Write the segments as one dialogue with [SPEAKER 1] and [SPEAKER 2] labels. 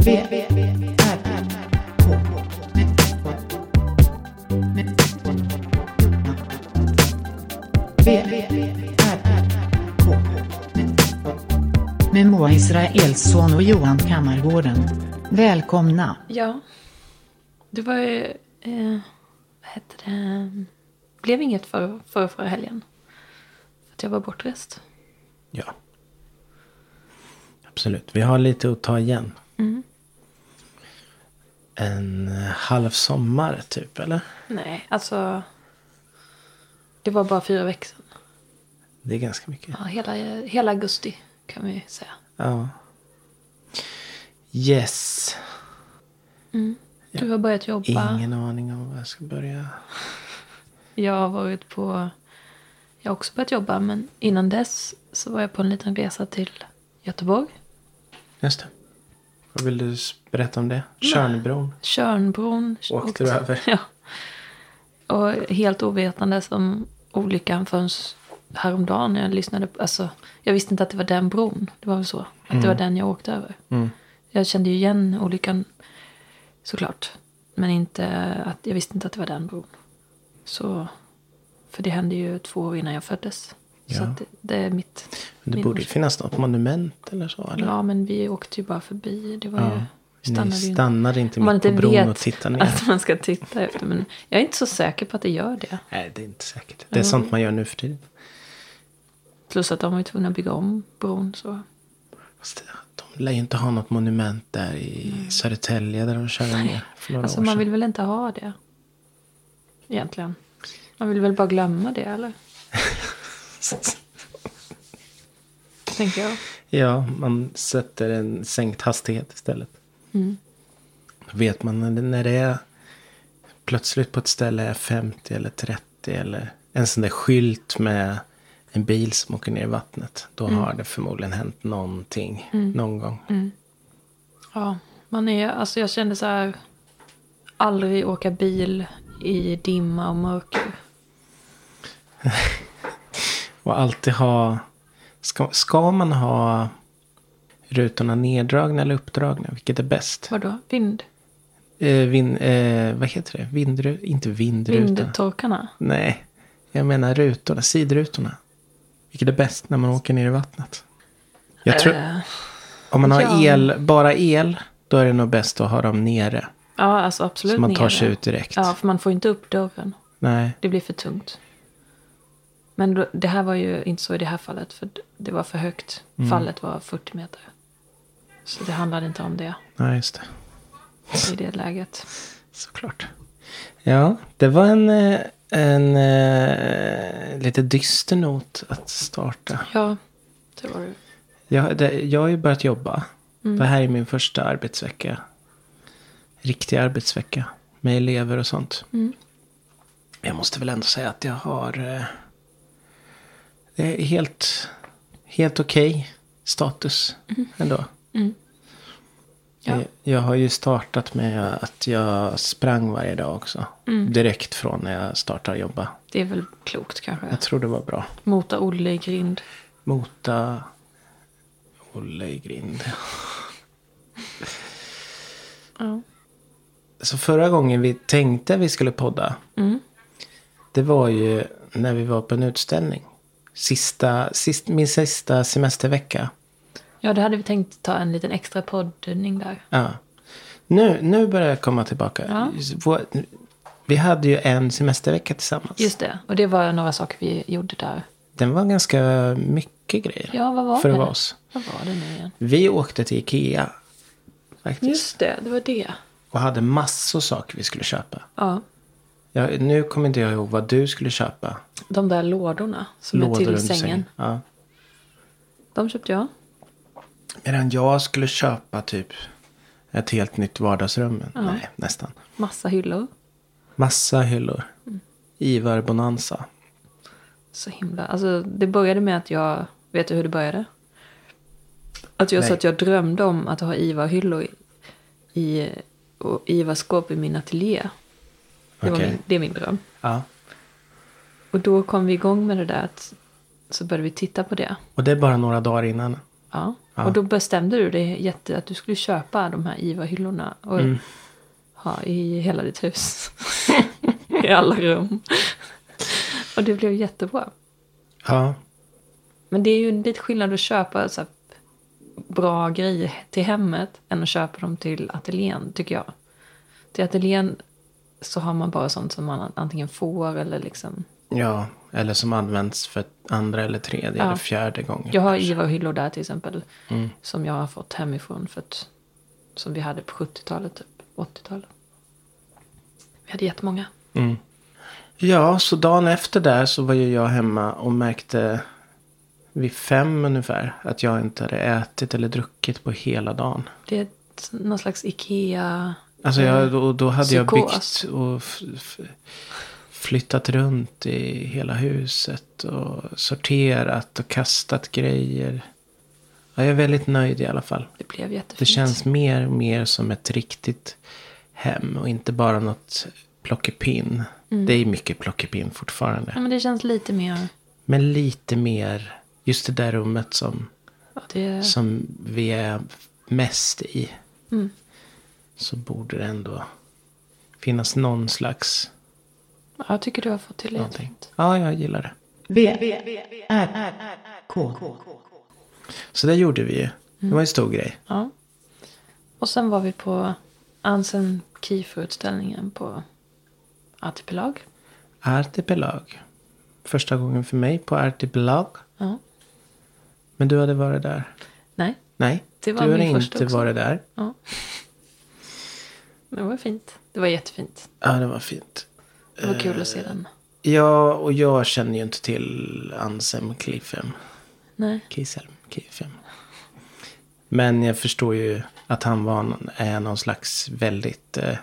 [SPEAKER 1] V, R, K. V, R, K. Med Moa Israelsson och Johan Kammargården. Välkomna.
[SPEAKER 2] Ja. Det var ju... Eh, vad heter det? blev inget för, för förra helgen. För att jag var bortrest.
[SPEAKER 3] Ja. Absolut. Vi har lite att ta igen.
[SPEAKER 2] Mm.
[SPEAKER 3] En eh, halv sommar typ, eller?
[SPEAKER 2] Nej, alltså... Det var bara fyra veckor sedan.
[SPEAKER 3] Det är ganska mycket.
[SPEAKER 2] Ja, hela, hela augusti kan vi säga.
[SPEAKER 3] Ja. Yes.
[SPEAKER 2] Du har börjat jobba.
[SPEAKER 3] Ingen aning om var jag ska börja.
[SPEAKER 2] Jag har varit på... Jag har också börjat jobba, men innan dess så var jag på en liten resa till Göteborg.
[SPEAKER 3] Just det. Vad vill du s- berätta om det? Tjörnbron.
[SPEAKER 2] Tjörnbron.
[SPEAKER 3] Åkte du över?
[SPEAKER 2] Ja. Och helt ovetande som olyckan förrän häromdagen när jag lyssnade på, alltså jag visste inte att det var den bron. Det var väl så, att det var
[SPEAKER 3] Mm.
[SPEAKER 2] den jag åkte över. Jag kände ju igen olyckan såklart. Men inte att, jag visste inte att det var den bron. Så, för det hände ju två år innan jag föddes. Så
[SPEAKER 3] Ja.
[SPEAKER 2] att det, det är mitt.
[SPEAKER 3] Det
[SPEAKER 2] min
[SPEAKER 3] borde ju finnas något monument eller så. Eller?
[SPEAKER 2] Ja, men vi åkte ju bara förbi. Det var ju...
[SPEAKER 3] Ni
[SPEAKER 2] ju inte.
[SPEAKER 3] stannar inte
[SPEAKER 2] Om man
[SPEAKER 3] mitt på
[SPEAKER 2] inte
[SPEAKER 3] bron
[SPEAKER 2] vet Alltså-
[SPEAKER 3] och tittar ner.
[SPEAKER 2] att man ska titta efter. Men jag är inte så säker på att det gör det.
[SPEAKER 3] Nej, det är inte säkert. Det är sånt man gör nu för tiden.
[SPEAKER 2] Plus att de var ju tvungna att bygga om bron. Så.
[SPEAKER 3] Fast de lär ju inte ha något monument där i Södertälje där de körde ner för några
[SPEAKER 2] Alltså
[SPEAKER 3] år
[SPEAKER 2] man
[SPEAKER 3] sedan.
[SPEAKER 2] vill väl inte ha det. Egentligen. Man vill väl bara glömma det eller? Tänker jag.
[SPEAKER 3] Ja, man sätter en sänkt hastighet istället.
[SPEAKER 2] Mm.
[SPEAKER 3] Då vet man när det, när det är plötsligt på ett ställe är 50 eller 30 eller en sån där skylt med en bil som åker ner i vattnet. Då
[SPEAKER 2] Mm.
[SPEAKER 3] har det förmodligen hänt någonting någon gång.
[SPEAKER 2] Ja, man är, alltså jag kände så här. Aldrig åka bil i dimma och mörker.
[SPEAKER 3] Och alltid ha... Ska, ska man ha rutorna neddragna eller uppdragna? Vilket är bäst?
[SPEAKER 2] Vadå? Vind?
[SPEAKER 3] Eh, vin, eh, vad heter det? Vindru, inte vindruta.
[SPEAKER 2] Vindtorkarna?
[SPEAKER 3] Nej, jag menar rutorna, sidrutorna. Vilket är bäst när man åker ner i vattnet? Jag tror,
[SPEAKER 2] Eh,
[SPEAKER 3] om man har
[SPEAKER 2] ja.
[SPEAKER 3] el, bara el, då är det nog bäst att ha dem nere.
[SPEAKER 2] ja, alltså absolut
[SPEAKER 3] Så man tar
[SPEAKER 2] nere.
[SPEAKER 3] sig ut direkt.
[SPEAKER 2] Ja, för man får ju inte upp dörren.
[SPEAKER 3] Nej,
[SPEAKER 2] Det blir för tungt. Men då, det här var ju inte så i det här fallet. För d- det var för högt. Fallet var 40 meter. Så det handlade inte om det
[SPEAKER 3] nej just det.
[SPEAKER 2] i det läget.
[SPEAKER 3] Såklart. Ja, det var en, eh, en eh, lite dyster not att starta.
[SPEAKER 2] Ja, det var det.
[SPEAKER 3] Jag, det, jag har ju börjat jobba. Det här är min första arbetsvecka. Riktig arbetsvecka. Med elever och sånt. Jag måste väl ändå säga att jag har... eh, Det är helt, helt okej status ändå.
[SPEAKER 2] Ja.
[SPEAKER 3] Jag- Jag har ju startat med att jag sprang varje dag också. Direkt från när jag startade jobba.
[SPEAKER 2] Det är väl klokt kanske.
[SPEAKER 3] Jag tror det var bra.
[SPEAKER 2] Mota Olle i grind.
[SPEAKER 3] Mota Olle i grind.
[SPEAKER 2] Ja.
[SPEAKER 3] Så förra gången vi tänkte att vi skulle podda.
[SPEAKER 2] Mm.
[SPEAKER 3] Det var ju när vi var på en utställning. Sista, sist, min sista semestervecka.
[SPEAKER 2] ja, det hade vi tänkt ta en liten extra poddning där.
[SPEAKER 3] Ja. Nu, nu börjar jag komma tillbaka.
[SPEAKER 2] Ja.
[SPEAKER 3] Vår, vi hade ju en semestervecka tillsammans.
[SPEAKER 2] Just det. Och det var några saker vi gjorde där.
[SPEAKER 3] Den var ganska mycket grejer.
[SPEAKER 2] Ja, vad var
[SPEAKER 3] för
[SPEAKER 2] det?
[SPEAKER 3] att vara oss.
[SPEAKER 2] Vad var det nu igen?
[SPEAKER 3] Vi åkte till Ikea. Faktiskt.
[SPEAKER 2] Just det, det var det.
[SPEAKER 3] Och hade massor saker vi skulle köpa.
[SPEAKER 2] Ja.
[SPEAKER 3] Ja, nu kommer inte jag ihåg vad du skulle köpa.
[SPEAKER 2] De där lådorna som är
[SPEAKER 3] Lådor
[SPEAKER 2] till
[SPEAKER 3] under
[SPEAKER 2] sängen.
[SPEAKER 3] Ja.
[SPEAKER 2] De köpte jag.
[SPEAKER 3] Medan jag skulle köpa typ ett helt nytt vardagsrum. men Nej, nästan.
[SPEAKER 2] Massa hyllor.
[SPEAKER 3] Massa hyllor.
[SPEAKER 2] Mm.
[SPEAKER 3] Ivar Bonanza.
[SPEAKER 2] Så himla... Alltså, det började med att jag... Vet du hur det började? Att jag
[SPEAKER 3] Nej.
[SPEAKER 2] sa att jag drömde om att ha IVA-hyllor i, i, och IVA-skåp i min ateljé. Det, var
[SPEAKER 3] Okej.
[SPEAKER 2] min, det är min dröm.
[SPEAKER 3] Ja.
[SPEAKER 2] Och då kom vi igång med det där. Att, så började vi titta på det.
[SPEAKER 3] Och det är bara några dagar innan.
[SPEAKER 2] Ja. Och då bestämde du dig jätte, att du skulle köpa de här IVA-hyllorna. Och
[SPEAKER 3] Mm.
[SPEAKER 2] ha i hela ditt hus. I alla rum. och det blev jättebra.
[SPEAKER 3] Ja.
[SPEAKER 2] Men det är ju en lite skillnad att köpa så här, bra grejer till hemmet än att köpa dem till ateljén, tycker jag. Till ateljén så har man bara sånt som man antingen får eller liksom...
[SPEAKER 3] Ja, eller som används för andra eller tredje
[SPEAKER 2] Ja.
[SPEAKER 3] eller fjärde gången.
[SPEAKER 2] Jag har IVA-hyllor där till exempel.
[SPEAKER 3] Mm.
[SPEAKER 2] Som jag har fått hemifrån. För att, som vi hade på 70-talet, typ. 80-talet. Vi hade jättemånga.
[SPEAKER 3] Ja, så dagen efter där så var ju jag hemma och märkte vid fem ungefär att jag inte hade ätit eller druckit på hela dagen.
[SPEAKER 2] Det är ett- någon slags Ikea...
[SPEAKER 3] Alltså jag, då, då hade jag
[SPEAKER 2] Psykos.
[SPEAKER 3] byggt och f- f- flyttat runt i hela huset och sorterat och kastat grejer. Ja, jag är väldigt nöjd i alla fall.
[SPEAKER 2] Det blev jättefint.
[SPEAKER 3] Det känns mer och mer som ett riktigt hem och inte bara något plockepinn. Det är mycket plockepinn fortfarande.
[SPEAKER 2] Ja, men det känns lite mer...
[SPEAKER 3] Men lite mer just det där rummet som,
[SPEAKER 2] Ja, det,
[SPEAKER 3] som vi är mest i.
[SPEAKER 2] Mm.
[SPEAKER 3] Så borde det ändå finnas någon slags
[SPEAKER 2] ja, jag tycker du har fått till det
[SPEAKER 3] någonting.
[SPEAKER 2] jättefint.
[SPEAKER 3] Ja, jag gillar det.
[SPEAKER 1] V, R, K.
[SPEAKER 3] Så det gjorde vi ju. Det var en stor grej.
[SPEAKER 2] Ja. Och sen var vi på Ansen Kiefer-utställningen på Artipelag.
[SPEAKER 3] Artipelag. Första gången för mig på Artipelag.
[SPEAKER 2] Ja.
[SPEAKER 3] Men du hade varit där?
[SPEAKER 2] Nej,
[SPEAKER 3] Nej,
[SPEAKER 2] Det var
[SPEAKER 3] du hade
[SPEAKER 2] min
[SPEAKER 3] inte
[SPEAKER 2] första också.
[SPEAKER 3] varit där.
[SPEAKER 2] det var fint. Det var jättefint.
[SPEAKER 3] Ja, det var fint.
[SPEAKER 2] Det var kul att se den.
[SPEAKER 3] Ja, och jag känner ju inte till Anselm Klifem.
[SPEAKER 2] Nej.
[SPEAKER 3] Kiselm Klifem. Men jag förstår ju att han var någon, är någon slags väldigt eh,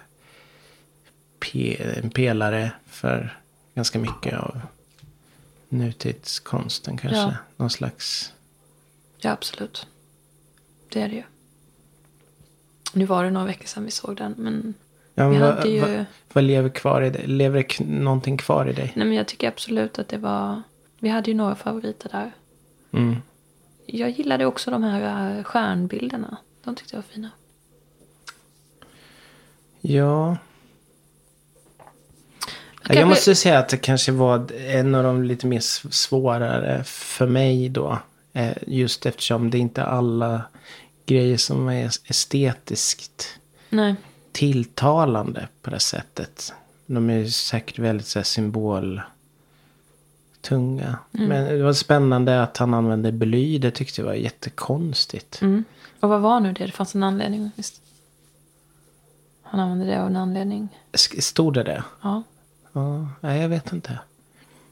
[SPEAKER 3] pe- en pelare för ganska mycket av nutidskonsten kanske.
[SPEAKER 2] Ja.
[SPEAKER 3] Någon slags...
[SPEAKER 2] Ja, absolut. Det är det ju. Nu var det några veckor sedan vi såg den, men
[SPEAKER 3] Ja,
[SPEAKER 2] Vi
[SPEAKER 3] men vad,
[SPEAKER 2] hade ju-
[SPEAKER 3] vad, vad lever kvar i dig? Lever det k- någonting kvar i dig?
[SPEAKER 2] Nej, men jag tycker absolut att det var... Vi hade ju några favoriter där.
[SPEAKER 3] Mm.
[SPEAKER 2] Jag gillade också de här äh, stjärnbilderna. De tyckte jag var fina.
[SPEAKER 3] Ja.
[SPEAKER 2] Kanske-
[SPEAKER 3] Jag måste säga att det kanske var en av de lite mer s- svårare för mig då. Eh, Just eftersom det inte är alla grejer som är estetiskt
[SPEAKER 2] Nej.
[SPEAKER 3] tilltalande på det sättet. De är ju säkert väldigt så här, symboltunga.
[SPEAKER 2] Mm.
[SPEAKER 3] Men det var spännande att han använde bly. Det tyckte jag var jättekonstigt.
[SPEAKER 2] Mm. Och vad var nu det? Det fanns en anledning, visst? Han använde det av en anledning.
[SPEAKER 3] S- Stod det det?
[SPEAKER 2] Ja.
[SPEAKER 3] Ja, nej, jag vet inte.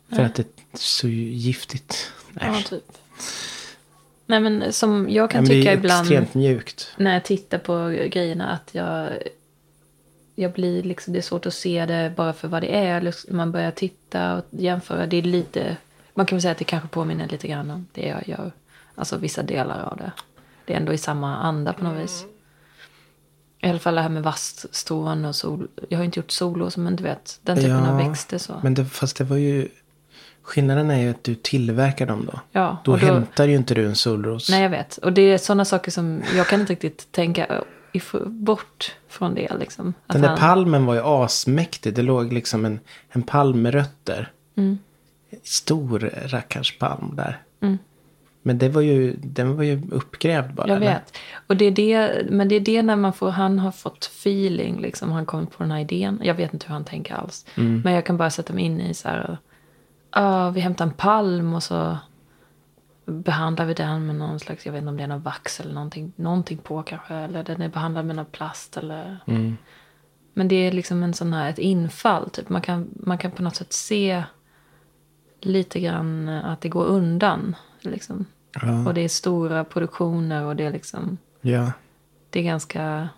[SPEAKER 3] För att det är så giftigt. Nej.
[SPEAKER 2] ja, typ. Nej, men som jag kan
[SPEAKER 3] Men det är
[SPEAKER 2] tycka
[SPEAKER 3] ju
[SPEAKER 2] ibland...
[SPEAKER 3] extremt mjukt.
[SPEAKER 2] när jag tittar på grejerna att jag... Jag blir liksom, det är svårt att se det bara för vad det är. Eller Man börjar titta och jämföra. Det är lite... Man kan väl säga att det kanske påminner lite grann om det jag gör. Alltså vissa delar av det. Det är ändå i samma anda på något vis. I alla fall det här med vasstrån och sol. Jag har inte gjort solos men du vet, den typen av växter så.
[SPEAKER 3] Men det, fast det var ju... Skillnaden är ju att du tillverkar dem då.
[SPEAKER 2] Ja,
[SPEAKER 3] Då,
[SPEAKER 2] och då-
[SPEAKER 3] hämtar ju inte du en solros.
[SPEAKER 2] Nej, jag vet. Och det är sådana saker som jag kan inte riktigt tänka if- bort från det liksom. Att
[SPEAKER 3] Den där
[SPEAKER 2] han-
[SPEAKER 3] palmen var ju asmäktig. Det låg liksom en, en palm med rötter.
[SPEAKER 2] Mm.
[SPEAKER 3] Stor rackarspalm där. Men det var ju, den var ju uppgrävd bara.
[SPEAKER 2] Jag
[SPEAKER 3] eller?
[SPEAKER 2] vet. Och det är det, men det är det när man får, han har fått feeling, liksom, han kom på den här idén. Jag vet inte hur han tänker alls.
[SPEAKER 3] Mm.
[SPEAKER 2] Men jag kan bara sätta mig in i så här, ah, vi hämtar en palm och så behandlar vi den med någon slags, jag vet inte om det är någon vax eller någonting, någonting på kanske. Eller den är behandlad med någon plast eller.
[SPEAKER 3] Mm.
[SPEAKER 2] Men det är liksom en sån här, ett infall typ. Man kan, man kan på något sätt se lite grann att det går undan. Liksom.
[SPEAKER 3] Mm.
[SPEAKER 2] Och det är stora produktioner och det är liksom,
[SPEAKER 3] Ja.
[SPEAKER 2] det är ganska,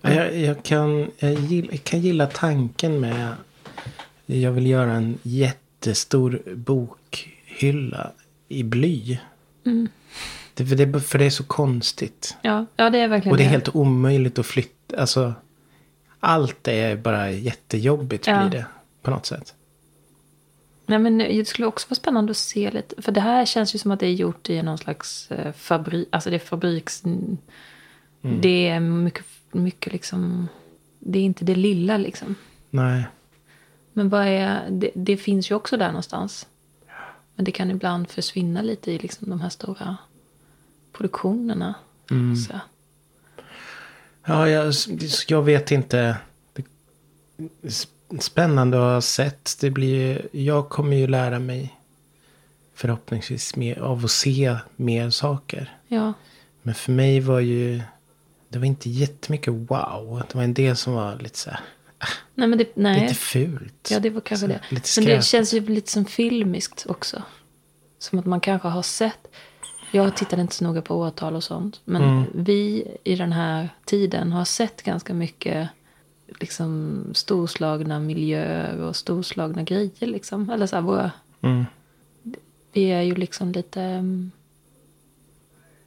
[SPEAKER 3] Jag, jag, kan, jag, gill, jag kan gilla tanken med... Jag vill göra en jättestor bokhylla i bly. Det, för, det, för det är så konstigt.
[SPEAKER 2] ja, ja det är verkligen
[SPEAKER 3] Och det är helt omöjligt att flytta. Alltså, allt är bara jättejobbigt
[SPEAKER 2] Ja.
[SPEAKER 3] blir det på något sätt.
[SPEAKER 2] Nej, men det skulle också vara spännande att se lite. För det här känns ju som att det är gjort i någon slags eh, fabrik. Alltså det är fabriks...
[SPEAKER 3] Mm.
[SPEAKER 2] Det är mycket, mycket liksom... Det är inte det lilla liksom.
[SPEAKER 3] Nej.
[SPEAKER 2] Men vad är... Det, det finns ju också där någonstans. Men det kan ibland försvinna lite i liksom de här stora produktionerna.
[SPEAKER 3] Mm.
[SPEAKER 2] Så.
[SPEAKER 3] Ja, jag, jag vet inte. Det- Spännande att ha sett. Det blir, ju- jag kommer ju lära mig förhoppningsvis mer, av att se mer saker.
[SPEAKER 2] Ja.
[SPEAKER 3] Men för mig var ju, det var inte jättemycket wow. Det var en del som var lite så här,
[SPEAKER 2] Nej, men det... Nej.
[SPEAKER 3] lite fult.
[SPEAKER 2] Ja, det var kanske
[SPEAKER 3] Så,
[SPEAKER 2] det.
[SPEAKER 3] Lite
[SPEAKER 2] Men
[SPEAKER 3] skräp.
[SPEAKER 2] det känns ju lite som filmiskt också. Som att man kanske har sett. Jag tittade inte så noga på årtal och sånt. Men
[SPEAKER 3] Mm.
[SPEAKER 2] vi i den här tiden har sett ganska mycket liksom, storslagna miljöer och storslagna grejer. Liksom. Eller så här, våra,
[SPEAKER 3] Mm.
[SPEAKER 2] vi är ju liksom lite... mm,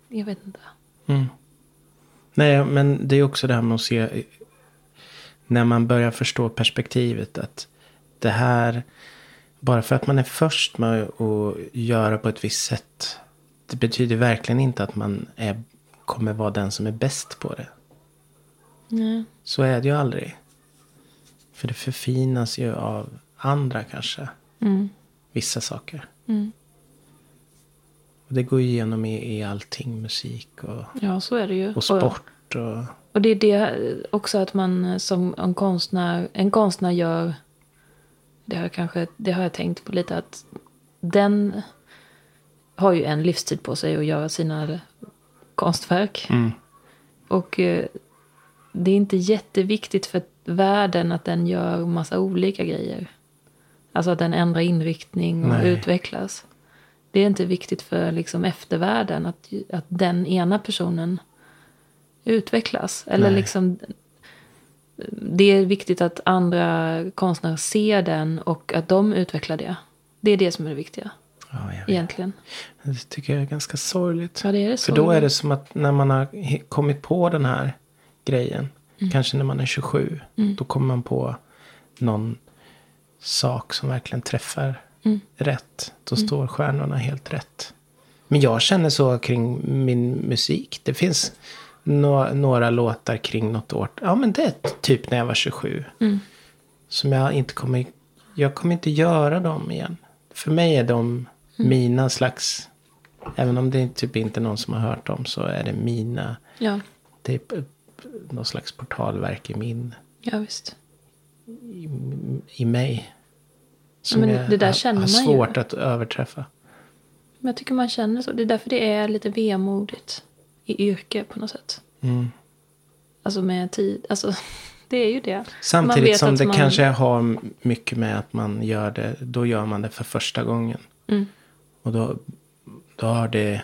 [SPEAKER 2] Jag vet inte.
[SPEAKER 3] Mm. Nej, men det är också det här med att se. När man börjar förstå perspektivet att det här. Bara för att man är först med att göra på ett visst sätt. Det betyder verkligen inte att man är, kommer vara den som är bäst på det.
[SPEAKER 2] Nej.
[SPEAKER 3] Så är det ju aldrig. För det förfinas ju av andra kanske.
[SPEAKER 2] Mm.
[SPEAKER 3] Vissa saker.
[SPEAKER 2] Mm.
[SPEAKER 3] Och det går ju igenom i, i allting. Musik och,
[SPEAKER 2] Ja, så är det ju.
[SPEAKER 3] och sport. Och,
[SPEAKER 2] Och det är det också att man som en konstnär, en konstnär gör, det har, jag kanske, det har jag tänkt på lite att den har ju en livstid på sig att göra sina konstverk.
[SPEAKER 3] Mm.
[SPEAKER 2] Och eh, det är inte jätteviktigt för världen att den gör massa olika grejer. Alltså att den ändrar inriktning och
[SPEAKER 3] Nej.
[SPEAKER 2] utvecklas. Det är inte viktigt för liksom, eftervärlden att, att den ena personen utvecklas. Eller
[SPEAKER 3] Nej.
[SPEAKER 2] liksom, det är viktigt att andra konstnärer ser den och att de utvecklar det. Det är det som är det viktiga
[SPEAKER 3] ja, jag vet.
[SPEAKER 2] egentligen.
[SPEAKER 3] Det tycker jag är ganska sorgligt.
[SPEAKER 2] Ja, det är det
[SPEAKER 3] För då är
[SPEAKER 2] sorgligt.
[SPEAKER 3] det som att när man har he- kommit på den här grejen.
[SPEAKER 2] Mm.
[SPEAKER 3] Kanske när man är 27. Då kommer man på någon sak som verkligen träffar
[SPEAKER 2] Mm.
[SPEAKER 3] rätt. Då står stjärnorna helt rätt. Men jag känner så kring min musik. Det finns nå- några låtar kring något år. Ja men det är typ när jag var 27. Som jag inte kommer... Jag kommer inte göra dem igen. För mig är de
[SPEAKER 2] Mm.
[SPEAKER 3] mina slags... Även om det typ inte är någon som har hört dem så är det mina...
[SPEAKER 2] Ja,
[SPEAKER 3] Det är p- p- någon slags portalverk i min...
[SPEAKER 2] ja visst.
[SPEAKER 3] I mig. Som
[SPEAKER 2] men
[SPEAKER 3] jag
[SPEAKER 2] det där
[SPEAKER 3] har-
[SPEAKER 2] känner
[SPEAKER 3] har
[SPEAKER 2] man ju.
[SPEAKER 3] svårt att överträffa.
[SPEAKER 2] Men jag tycker man känner så. Det är därför det är lite vemodigt i yrke på något sätt.
[SPEAKER 3] Mm.
[SPEAKER 2] Alltså med tid. Alltså, det är ju det. Man
[SPEAKER 3] Samtidigt
[SPEAKER 2] vet
[SPEAKER 3] som
[SPEAKER 2] att
[SPEAKER 3] det
[SPEAKER 2] man-
[SPEAKER 3] kanske har mycket med att man gör det, då gör man det för första gången.
[SPEAKER 2] Mm.
[SPEAKER 3] Och då, då har det,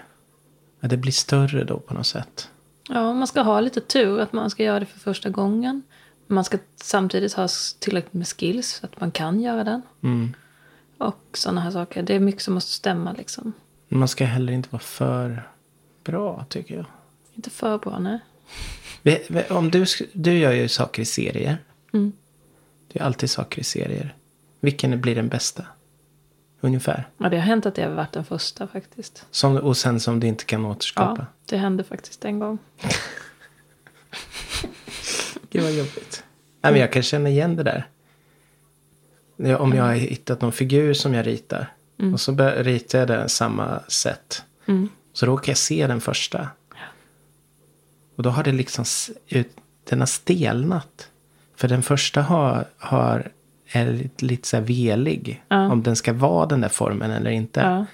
[SPEAKER 3] ja, det blir större då på något sätt.
[SPEAKER 2] Ja, man ska ha lite tur att man ska göra det för första gången. Man ska samtidigt ha s- tillräckligt med skills så att man kan göra den. Och sådana här saker. Det är mycket som måste stämma liksom.
[SPEAKER 3] Men man ska heller inte vara för bra tycker jag.
[SPEAKER 2] Inte för bra, nej.
[SPEAKER 3] Vi- vi- Om du, sk- du gör ju saker i serier. Det är alltid saker i serier. Vilken blir den bästa? Ungefär.
[SPEAKER 2] Ja, det har hänt att det har varit den första faktiskt.
[SPEAKER 3] Som, och sen som du inte kan
[SPEAKER 2] Ja,
[SPEAKER 3] återskapa.
[SPEAKER 2] det hände faktiskt en gång.
[SPEAKER 3] Gud vad jobbigt. Nej, men jag kan känna igen det där. Ja, Om jag har hittat någon figur som jag ritar. Och så bör- ritar jag den samma sätt. Så då kan jag se den första. Och då har det liksom s- ut, den har stelnat. För den första har, har är lite, lite så här velig. Om den ska vara den där formen eller inte.
[SPEAKER 2] Ja.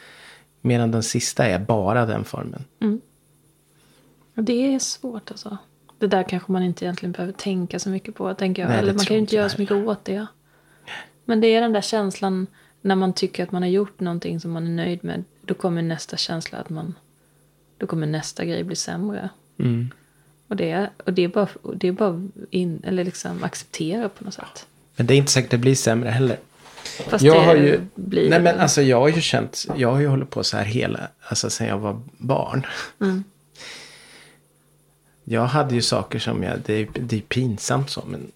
[SPEAKER 3] Medan den sista är bara den formen.
[SPEAKER 2] Ja, Det är svårt alltså. Det där kanske man inte egentligen behöver tänka så mycket på, tänker jag.
[SPEAKER 3] Nej, det
[SPEAKER 2] Eller man
[SPEAKER 3] tror
[SPEAKER 2] kan ju
[SPEAKER 3] inte
[SPEAKER 2] inte göra
[SPEAKER 3] jag
[SPEAKER 2] så mycket åt det. Men det är den där känslan när man tycker att man har gjort någonting som man är nöjd med. Då kommer nästa känsla att man... Då kommer nästa grej bli sämre.
[SPEAKER 3] Mm.
[SPEAKER 2] Och, det, och det är bara, och det är bara in, eller liksom acceptera på något sätt.
[SPEAKER 3] Men det är inte säkert det blir sämre heller.
[SPEAKER 2] Fast
[SPEAKER 3] jag
[SPEAKER 2] det
[SPEAKER 3] har ju,
[SPEAKER 2] blir...
[SPEAKER 3] nej men alltså jag har ju känt, jag har ju hållit på så här hela, alltså sen jag var barn.
[SPEAKER 2] Mm.
[SPEAKER 3] Jag hade ju saker som jag, det är, det är pinsamt så men,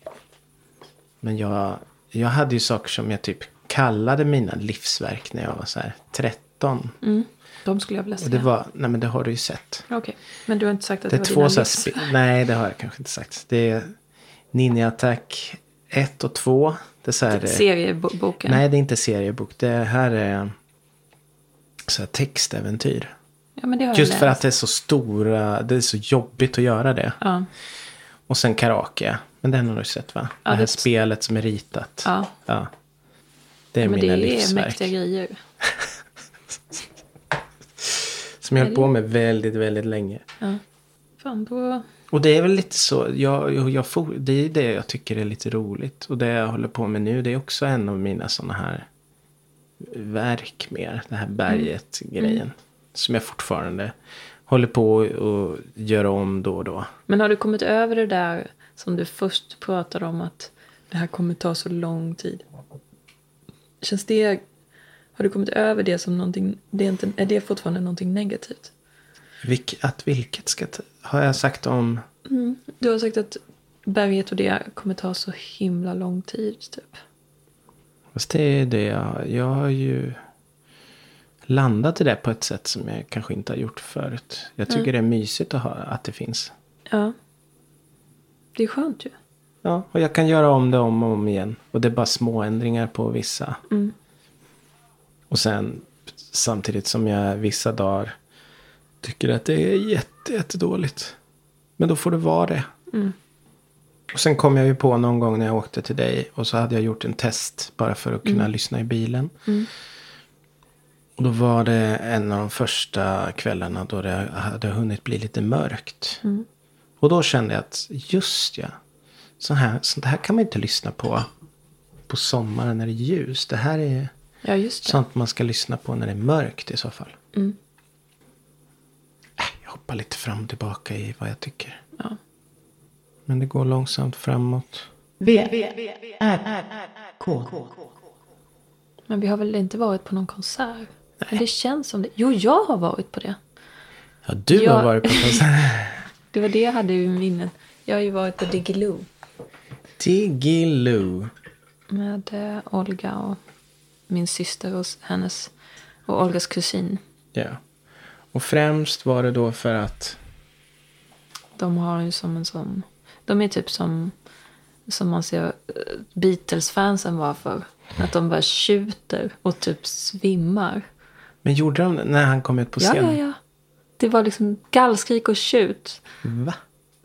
[SPEAKER 3] men jag, jag hade ju saker som jag typ kallade mina livsverk när jag var så här 13.
[SPEAKER 2] Mm. De skulle jag vilja
[SPEAKER 3] Och
[SPEAKER 2] säga.
[SPEAKER 3] det var, nej men det har du ju sett.
[SPEAKER 2] Okej, men du har inte sagt att
[SPEAKER 3] Det
[SPEAKER 2] det, var
[SPEAKER 3] är två
[SPEAKER 2] dina
[SPEAKER 3] så här
[SPEAKER 2] livs-
[SPEAKER 3] spe- Nej, det har jag kanske inte sagt. Det är Ninja Attack 1 och 2. Det är så här, eh,
[SPEAKER 2] serieboken?
[SPEAKER 3] Nej, det är inte seriebok. Det här är så här textäventyr.
[SPEAKER 2] ja, men det har jag
[SPEAKER 3] Just för
[SPEAKER 2] läst.
[SPEAKER 3] att det är så stora, det är så jobbigt att göra det.
[SPEAKER 2] Ja,
[SPEAKER 3] Och sen karaoke. Men den har du sett va? det här
[SPEAKER 2] det-
[SPEAKER 3] spelet som är ritat.
[SPEAKER 2] Ja.
[SPEAKER 3] Det är
[SPEAKER 2] men det
[SPEAKER 3] mina
[SPEAKER 2] är
[SPEAKER 3] livsverk.
[SPEAKER 2] mäktiga grejer.
[SPEAKER 3] Som jag höll på med väldigt, väldigt länge.
[SPEAKER 2] Ja. Fan, då...
[SPEAKER 3] Och det är väl lite så, jag, jag, jag for, det är det jag tycker är lite roligt. Och det jag håller på med nu det är också en av mina sådana här verk mer. Det här berget-grejen. Som jag fortfarande håller på och gör om då och då.
[SPEAKER 2] Men har du kommit över det där som du först pratade om att det här kommer ta så lång tid? Känns det... Har du kommit över det som någonting... Det är, inte, är det fortfarande någonting negativt?
[SPEAKER 3] Vilk, att vilket ska, ta- har jag sagt om?
[SPEAKER 2] Du har sagt att berget och det kommer ta så himla lång tid, typ.
[SPEAKER 3] Fast det är det jag, jag har ju landat i det på ett sätt som jag kanske inte har gjort förut. Jag tycker det är mysigt att höra att det finns.
[SPEAKER 2] Ja. Det är skönt ju.
[SPEAKER 3] Ja, och jag kan göra om det om och om igen. Och det är bara små ändringar på vissa. Och sen samtidigt som jag vissa dagar tycker att det är jätte, jättedåligt. Men då får det vara det. Och sen kom jag ju på någon gång när jag åkte till dig och så hade jag gjort en test bara för att kunna lyssna i bilen. Och då var det en av de första kvällarna då det hade hunnit bli lite mörkt. Och då kände jag att just ja, så här, sånt här kan man inte lyssna på på sommaren när det är ljus. Det här är
[SPEAKER 2] Ja, just det.
[SPEAKER 3] sånt man ska lyssna på när det är mörkt i så fall.
[SPEAKER 2] Mm.
[SPEAKER 3] Äh, Jag hoppar lite fram och tillbaka i vad jag tycker.
[SPEAKER 2] Ja.
[SPEAKER 3] Men det går långsamt framåt.
[SPEAKER 1] V, V, R, R, K.
[SPEAKER 2] Men vi har väl inte varit på någon konsert? Men det känns som det. Jo, jag har varit på det.
[SPEAKER 3] Ja, du
[SPEAKER 2] Jag-
[SPEAKER 3] har varit på konsert.
[SPEAKER 2] Det var det jag hade i minnen. Jag har ju varit på Diggiloo
[SPEAKER 3] Diggiloo.
[SPEAKER 2] med eh, Olga och min syster och s- hennes och Olgas kusin.
[SPEAKER 3] Ja. Och främst var det då för att...
[SPEAKER 2] De har ju som en sån... De är typ som, som man ser eh, Beatles-fansen var för. Att de bara tjuter och typ svimmar.
[SPEAKER 3] Men gjorde de det när han kom ut på
[SPEAKER 2] Ja,
[SPEAKER 3] scenen?
[SPEAKER 2] ja, ja. Det var liksom gallskrik och tjut.
[SPEAKER 3] Va?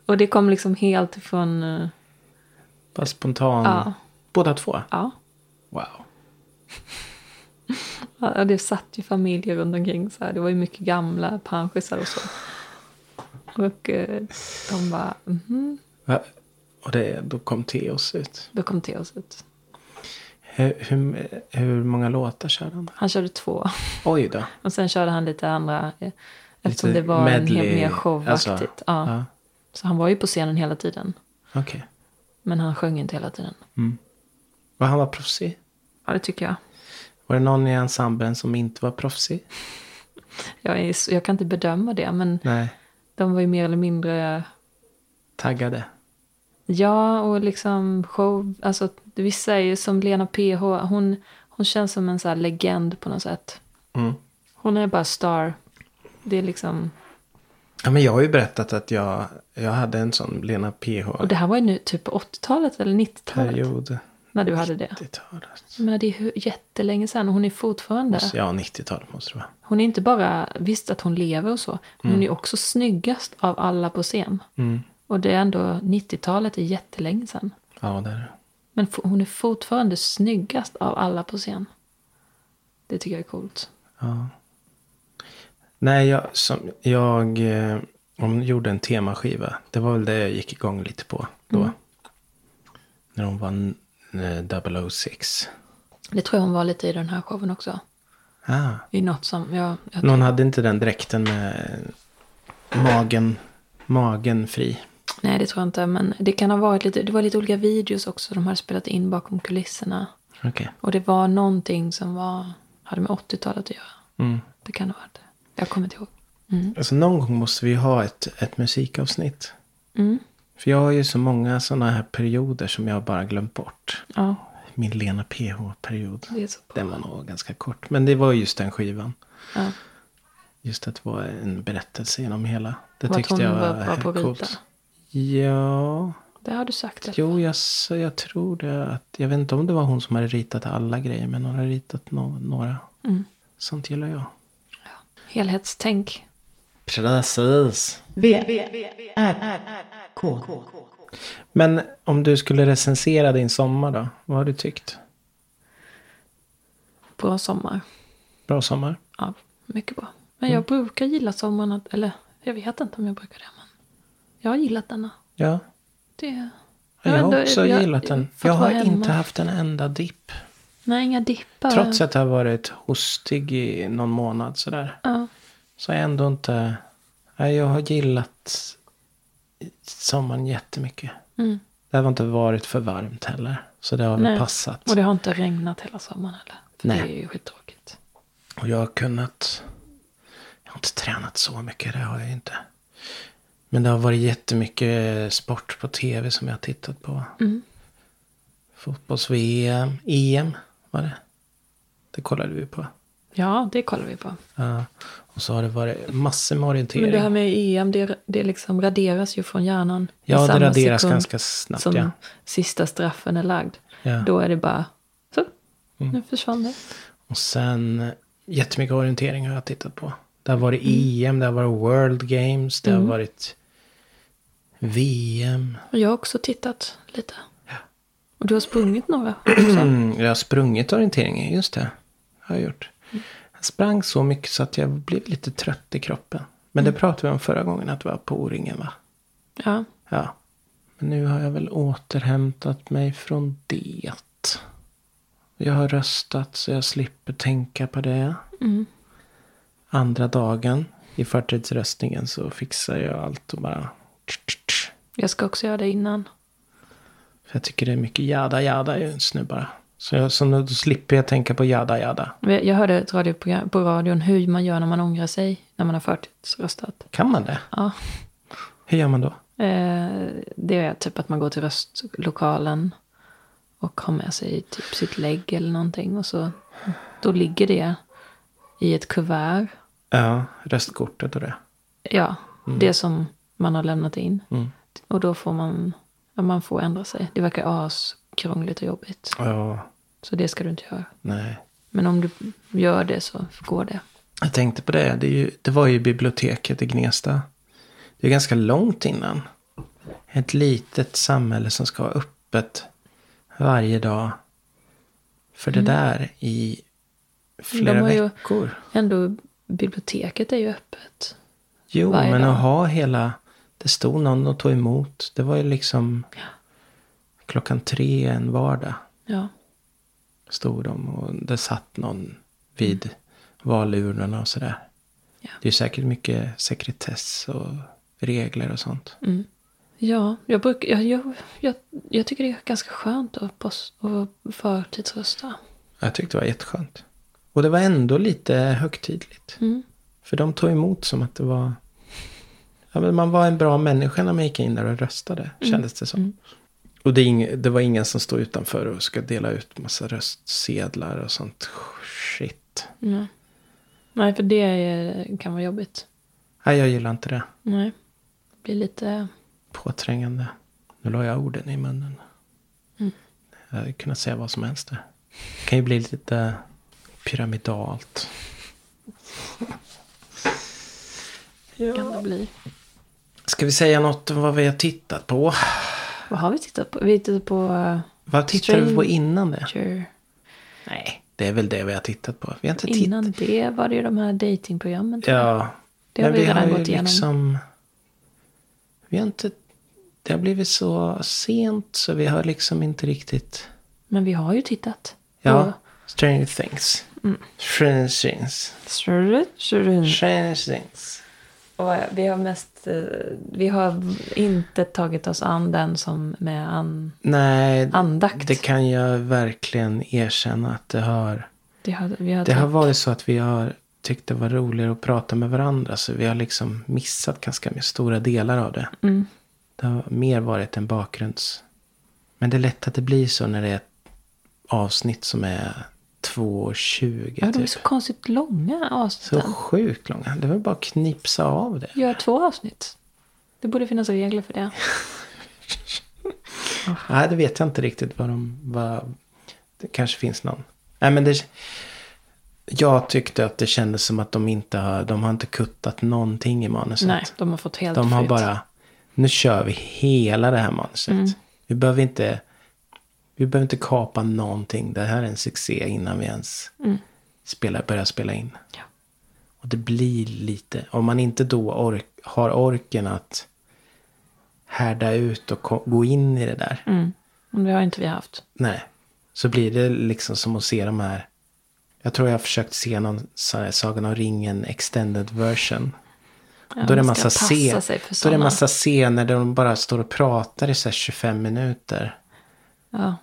[SPEAKER 2] Och det kom liksom helt ifrån... eh,
[SPEAKER 3] Bara spontan.
[SPEAKER 2] Ja.
[SPEAKER 3] Båda två?
[SPEAKER 2] Ja.
[SPEAKER 3] Wow.
[SPEAKER 2] Ja, det satt ju familjer runt omkring så här. Det var ju mycket gamla panschisar och så. Och eh, de bara, mhm,
[SPEAKER 3] Va? Och det, då kom Teos ut.
[SPEAKER 2] då kom Theos ut.
[SPEAKER 3] Hur, hur, hur många låtar körde han?
[SPEAKER 2] Han körde två.
[SPEAKER 3] Oj då.
[SPEAKER 2] Och sen körde han lite andra, eh, eftersom
[SPEAKER 3] Lite
[SPEAKER 2] det var en
[SPEAKER 3] medley,
[SPEAKER 2] hel mer showaktigt.
[SPEAKER 3] alltså,
[SPEAKER 2] ja.
[SPEAKER 3] ja.
[SPEAKER 2] Så han var ju på scenen hela tiden.
[SPEAKER 3] Okej.
[SPEAKER 2] Men han sjöng inte hela tiden.
[SPEAKER 3] Och han var proffsig?
[SPEAKER 2] Ja, det tycker jag.
[SPEAKER 3] Var det någon i ensemblen som inte var proffsig?
[SPEAKER 2] Jag, är, s- jag kan inte bedöma det, men
[SPEAKER 3] Nej.
[SPEAKER 2] de var ju mer eller mindre
[SPEAKER 3] Taggade?
[SPEAKER 2] Ja, och liksom show, alltså vissa är ju som Lena PH, hon, hon känns som en så här legend på något sätt.
[SPEAKER 3] Mm.
[SPEAKER 2] Hon är bara star. Det är liksom,
[SPEAKER 3] Ja, men jag har ju berättat att jag, jag hade en sån Lena
[SPEAKER 2] och det här var ju nu typ på 80-talet eller 90-talet
[SPEAKER 3] PH-period.
[SPEAKER 2] när du hade det.
[SPEAKER 3] 90-talet.
[SPEAKER 2] Men det är ju jättelänge sedan och hon är fortfarande,
[SPEAKER 3] Ja, 90-talet måste det vara.
[SPEAKER 2] hon är inte bara, visst att hon lever och så, men hon är också snyggast av alla på scen. Och det är ändå, 90-talet är jättelänge sedan.
[SPEAKER 3] Ja, det är det.
[SPEAKER 2] Men fo- hon är fortfarande snyggast av alla på scen. Det tycker jag är coolt.
[SPEAKER 3] Ja. Nej, jag, som, jag eh, hon gjorde en temaskiva. Det var väl det jag gick igång lite på då. När hon vann eh, 006.
[SPEAKER 2] Det tror jag hon var lite i den här showen också.
[SPEAKER 3] Ah.
[SPEAKER 2] I något som, jag, jag,
[SPEAKER 3] Någon hade inte den dräkten med magen, magen fri.
[SPEAKER 2] nej det tror jag inte, men det kan ha varit lite, det var lite olika videos också de hade spelat in bakom kulisserna.
[SPEAKER 3] Okej.
[SPEAKER 2] Och det var någonting som var, hade med 80-talet att göra.
[SPEAKER 3] Mm.
[SPEAKER 2] Det kan ha varit det. Jag kommer inte ihåg.
[SPEAKER 3] Alltså någon gång måste vi ha ett, ett musikavsnitt.
[SPEAKER 2] Mm.
[SPEAKER 3] För jag har ju så många sådana här perioder som jag bara glömt bort.
[SPEAKER 2] Ja.
[SPEAKER 3] min Lena PH-period.
[SPEAKER 2] Det är så bra.
[SPEAKER 3] Den var nog ganska kort. Men det var just den skivan.
[SPEAKER 2] Ja.
[SPEAKER 3] Just att det var en berättelse genom hela. Det
[SPEAKER 2] Var att
[SPEAKER 3] tyckte
[SPEAKER 2] hon
[SPEAKER 3] jag
[SPEAKER 2] var
[SPEAKER 3] var,
[SPEAKER 2] bra på att rita?
[SPEAKER 3] coolt. Ja,
[SPEAKER 2] Det har du sagt. att-
[SPEAKER 3] jo jag, s- jag tror det. Att, jag vet inte om det var hon som hade ritat alla grejer. Men hon har ritat no- några.
[SPEAKER 2] Mm.
[SPEAKER 3] Sånt gillar jag.
[SPEAKER 2] Helhetstänk.
[SPEAKER 3] Precis.
[SPEAKER 1] V, V, V, R, R, R, K.
[SPEAKER 3] Men om du skulle recensera din sommar då? Vad har du tyckt?
[SPEAKER 2] Bra sommar.
[SPEAKER 3] Bra sommar?
[SPEAKER 2] Ja, mycket bra. Men jag
[SPEAKER 3] Mm.
[SPEAKER 2] brukar gilla sommaren. att- Eller jag vet inte om jag brukar det. Men jag har gillat denna.
[SPEAKER 3] Ja.
[SPEAKER 2] Det,
[SPEAKER 3] Jag
[SPEAKER 2] vet
[SPEAKER 3] har
[SPEAKER 2] inte,
[SPEAKER 3] också
[SPEAKER 2] jag-
[SPEAKER 3] gillat den.
[SPEAKER 2] fått
[SPEAKER 3] Jag har
[SPEAKER 2] vara hemma.
[SPEAKER 3] inte haft en enda dipp.
[SPEAKER 2] Nej, inga dippar.
[SPEAKER 3] Trots att jag har varit hostig i någon månad sådär.
[SPEAKER 2] Ja.
[SPEAKER 3] Så har jag ändå inte... Nej, jag har gillat sommaren jättemycket.
[SPEAKER 2] Mm.
[SPEAKER 3] Det har inte varit för varmt heller. Så det har väl
[SPEAKER 2] Nej.
[SPEAKER 3] passat.
[SPEAKER 2] Och det har inte regnat hela sommaren heller. För
[SPEAKER 3] Nej.
[SPEAKER 2] Det är ju skittråkigt.
[SPEAKER 3] Och jag har kunnat... Jag har inte tränat så mycket, det har jag ju inte. Men det har varit jättemycket sport på tv som jag har tittat på.
[SPEAKER 2] Mm.
[SPEAKER 3] Fotbolls-VM, EM E var det. Det kollade vi på.
[SPEAKER 2] Ja, det kollar vi på.
[SPEAKER 3] Ja. och så har det varit massor med orientering.
[SPEAKER 2] Men det här med EM, det, det liksom raderas ju från hjärnan. i
[SPEAKER 3] ja, det
[SPEAKER 2] samma
[SPEAKER 3] raderas
[SPEAKER 2] sekund
[SPEAKER 3] ganska snabbt.
[SPEAKER 2] Som
[SPEAKER 3] Ja.
[SPEAKER 2] sista straffen är lagd.
[SPEAKER 3] Ja. Mm.
[SPEAKER 2] Då är det bara så. Nu försvann det.
[SPEAKER 3] Och sen eh, jättemycket orientering har jag tittat på. Det har varit
[SPEAKER 2] Mm.
[SPEAKER 3] EM, det har varit World Games, det har varit VM.
[SPEAKER 2] Och Jag har också tittat lite. Och du har sprungit några också.
[SPEAKER 3] Mm, jag har sprungit orienteringen, just det. Har jag gjort. Jag sprang så mycket så att jag blev lite trött i kroppen. Men
[SPEAKER 2] Mm.
[SPEAKER 3] det pratade vi om förra gången att det var på O-ringen va?
[SPEAKER 2] Ja.
[SPEAKER 3] Ja. Men nu har jag väl återhämtat mig från det. Jag har röstat så jag slipper tänka på det.
[SPEAKER 2] Mm.
[SPEAKER 3] Andra dagen i förtidsröstningen så fixar jag allt och bara...
[SPEAKER 2] Jag ska också göra det innan.
[SPEAKER 3] För jag tycker det är mycket jada jada just nu bara. Så, jag, så nu, då slipper jag tänka på jada jada.
[SPEAKER 2] Jag hörde ett radioprogram på radion hur man gör när man ångrar sig. När man har förtidsröstat.
[SPEAKER 3] Kan man det?
[SPEAKER 2] Ja.
[SPEAKER 3] Hur gör man då?
[SPEAKER 2] Eh, det är typ att man går till röstlokalen och har med sig typ sitt lägg eller någonting. Och så, då ligger det i ett kuvert.
[SPEAKER 3] Ja, röstkortet och det.
[SPEAKER 2] Ja, det som man har lämnat in. Och då får man, ja, man får ändra sig. Det verkar askrångligt och jobbigt.
[SPEAKER 3] Ja,
[SPEAKER 2] Så det ska du inte göra.
[SPEAKER 3] nej.
[SPEAKER 2] Men om du gör det så går det.
[SPEAKER 3] Jag tänkte på det. Det, är ju, det var ju biblioteket i Gnesta. Det är ganska långt innan. Ett litet samhälle som ska ha öppet varje dag. För det där i flera
[SPEAKER 2] Mm. har ju-
[SPEAKER 3] veckor.
[SPEAKER 2] Ändå, biblioteket är ju öppet.
[SPEAKER 3] Jo,
[SPEAKER 2] varje
[SPEAKER 3] men
[SPEAKER 2] dag.
[SPEAKER 3] att ha hela... Det stod någon och tog emot. Det var ju liksom klockan tre en vardag.
[SPEAKER 2] Ja,
[SPEAKER 3] stod de och det satt någon vid valurnorna och sådär.
[SPEAKER 2] Mm. Ja.
[SPEAKER 3] Det är säkert mycket sekretess och regler och sånt.
[SPEAKER 2] Mm. ja jag, bruk, jag, jag, jag, jag tycker det är ganska skönt att, post, att förtidsrösta.
[SPEAKER 3] Jag tyckte det var jätteskönt. Och det var ändå lite högtidligt.
[SPEAKER 2] Mm.
[SPEAKER 3] För de tog emot som att det var... Ja, men man var en bra människa när man gick in där och röstade,
[SPEAKER 2] Mm.
[SPEAKER 3] kändes det som. Och det, är ing, det var ingen som stod utanför och ska dela ut massa röstsedlar och sånt shit.
[SPEAKER 2] Ja. Nej, för det är, kan vara jobbigt.
[SPEAKER 3] Nej, jag gillar inte det.
[SPEAKER 2] Nej, det blir lite...
[SPEAKER 3] påträngande. Nu la jag orden i munnen.
[SPEAKER 2] Mm.
[SPEAKER 3] Jag hade kunnat säga vad som helst där. Det kan ju bli lite eh, pyramidalt.
[SPEAKER 2] Kan det bli.
[SPEAKER 3] Ska vi säga något om vad vi har tittat på?
[SPEAKER 2] Vad har vi tittat på? Vi tittade på... eh,
[SPEAKER 3] Vad tittade vi på innan det?
[SPEAKER 2] Sure.
[SPEAKER 3] Nej, det är väl det vi har tittat på. Vi har inte tittat...
[SPEAKER 2] Innan det var det ju de här datingprogrammen. tror jag.
[SPEAKER 3] Ja.
[SPEAKER 2] Det har
[SPEAKER 3] men
[SPEAKER 2] vi redan
[SPEAKER 3] ju
[SPEAKER 2] gått igenom.
[SPEAKER 3] Liksom, vi har inte... Det har blivit så sent så vi har liksom inte riktigt...
[SPEAKER 2] Men vi har ju tittat.
[SPEAKER 3] Ja. Stranger things.
[SPEAKER 2] Mm.
[SPEAKER 3] Stranger things.
[SPEAKER 2] Sure.
[SPEAKER 3] Stranger things.
[SPEAKER 2] Och vi har mest... eh, Vi har inte tagit oss an den som med an...
[SPEAKER 3] Nej,
[SPEAKER 2] Andakt.
[SPEAKER 3] det kan jag verkligen erkänna att det har.
[SPEAKER 2] Det har, vi har
[SPEAKER 3] Det har
[SPEAKER 2] typ-
[SPEAKER 3] varit så att vi har tyckt det var roligare att prata med varandra. Så vi har liksom missat ganska mycket stora delar av det.
[SPEAKER 2] Mm.
[SPEAKER 3] Det har mer varit en bakgrunds... Men det är lätt att det blir så när det är avsnitt som är 2.20
[SPEAKER 2] Ja, de är
[SPEAKER 3] typ.
[SPEAKER 2] så konstigt långa
[SPEAKER 3] Så
[SPEAKER 2] avsnitten.
[SPEAKER 3] sjukt långa. Det var bara att knipsa av det.
[SPEAKER 2] Gör två avsnitt. Det borde finnas regler för det.
[SPEAKER 3] Nej, det vet jag inte riktigt vad de... Vad, det kanske finns någon. Nej, men det... Jag tyckte att det kändes som att de inte har... De har inte kuttat någonting i manuset.
[SPEAKER 2] Nej, de har fått helt
[SPEAKER 3] de har
[SPEAKER 2] fritt.
[SPEAKER 3] bara... Nu kör vi hela det här manuset.
[SPEAKER 2] Mm.
[SPEAKER 3] Vi behöver inte... Vi behöver inte kapa någonting. Det här är en succé innan vi ens spelar, börjar spela in.
[SPEAKER 2] Mm. Ja.
[SPEAKER 3] Och det blir lite, om man inte då ork, har orken att härda ut och ko- gå in i det där.
[SPEAKER 2] Mm. Men det har inte vi haft.
[SPEAKER 3] Nej. Så blir det liksom som att se de här. Jag tror jag har försökt se någon så här, Sagan om ringen extended version.
[SPEAKER 2] Ja,
[SPEAKER 3] då, är det
[SPEAKER 2] man
[SPEAKER 3] massa
[SPEAKER 2] ska
[SPEAKER 3] scen-
[SPEAKER 2] passa sig för
[SPEAKER 3] då är
[SPEAKER 2] såna.
[SPEAKER 3] det massa scener där de bara står och pratar i så här 25 minuter.
[SPEAKER 2] Ja.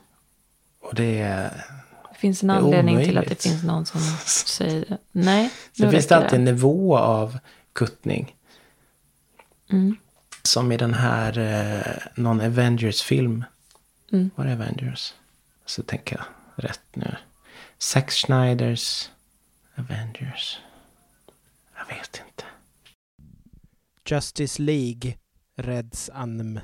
[SPEAKER 3] Och det är...
[SPEAKER 2] Det finns en
[SPEAKER 3] Det är
[SPEAKER 2] anledning till att
[SPEAKER 3] omöjligt.
[SPEAKER 2] det finns någon som säger nej.
[SPEAKER 3] Sen
[SPEAKER 2] nu
[SPEAKER 3] finns det
[SPEAKER 2] räcker
[SPEAKER 3] alltid en nivå av kuttning.
[SPEAKER 2] Mm,
[SPEAKER 3] Som i den här, eh, någon Avengers-film.
[SPEAKER 2] mm,
[SPEAKER 3] Var det Avengers? Så tänker jag rätt nu. Zack Schneiders Avengers. Jag vet inte.
[SPEAKER 4] Justice League Reds Anm.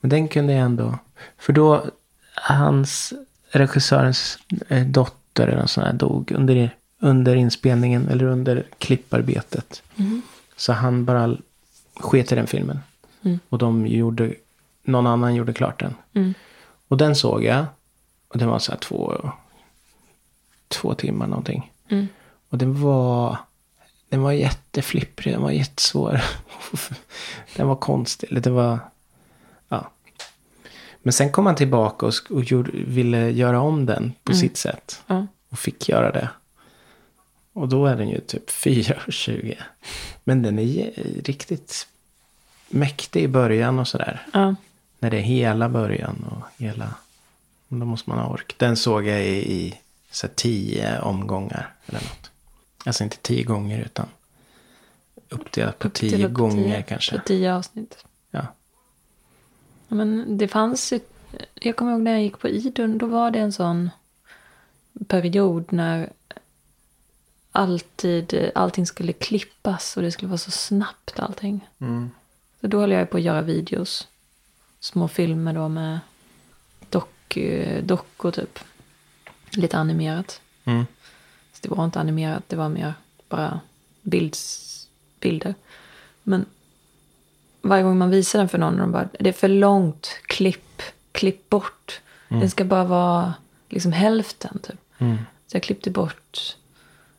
[SPEAKER 3] Men den kunde jag ändå. För då, hans, regissörens eh, dotter eller något sånt där dog under, under inspelningen eller under klipparbetet. Så han bara l- sket i den filmen. Och de gjorde, någon annan gjorde klart den.
[SPEAKER 2] mm,
[SPEAKER 3] Och den såg jag. Och den var så här två, två timmar någonting.
[SPEAKER 2] mm.
[SPEAKER 3] Och den var, den var jätteflipprig, den var jättesvår. den var konstig, eller det var... Ja. Men sen kom han tillbaka och, sk- och gjorde, ville göra om den på sitt sätt.
[SPEAKER 2] Ja.
[SPEAKER 3] Och fick göra det. Och då är den ju typ 4,20. Men den är je- riktigt mäktig i början och sådär.
[SPEAKER 2] Ja.
[SPEAKER 3] När det är hela början och hela... Då måste man ha ork. Den såg jag i, i så här, tio omgångar eller något. Alltså inte tio gånger utan uppdelat på
[SPEAKER 2] Till
[SPEAKER 3] tio
[SPEAKER 2] upp
[SPEAKER 3] gånger
[SPEAKER 2] typ tio-
[SPEAKER 3] kanske.
[SPEAKER 2] På tio avsnitt.
[SPEAKER 3] Ja.
[SPEAKER 2] Ja, Men det fanns ju, jag kommer ihåg när jag gick på Idun, då var det en sån period när alltid, allting skulle klippas och det skulle vara så snabbt allting. Så då höll jag ju på att göra videos, små filmer då med dock, dockor typ. Lite animerat.
[SPEAKER 3] Mm.
[SPEAKER 2] Så det var inte animerat, det var mer bara bilds, bilder. Men varje gång man visar den för någon och de bara, det är för långt, klipp, klipp bort. Den ska bara vara liksom hälften typ. Så jag klippte bort,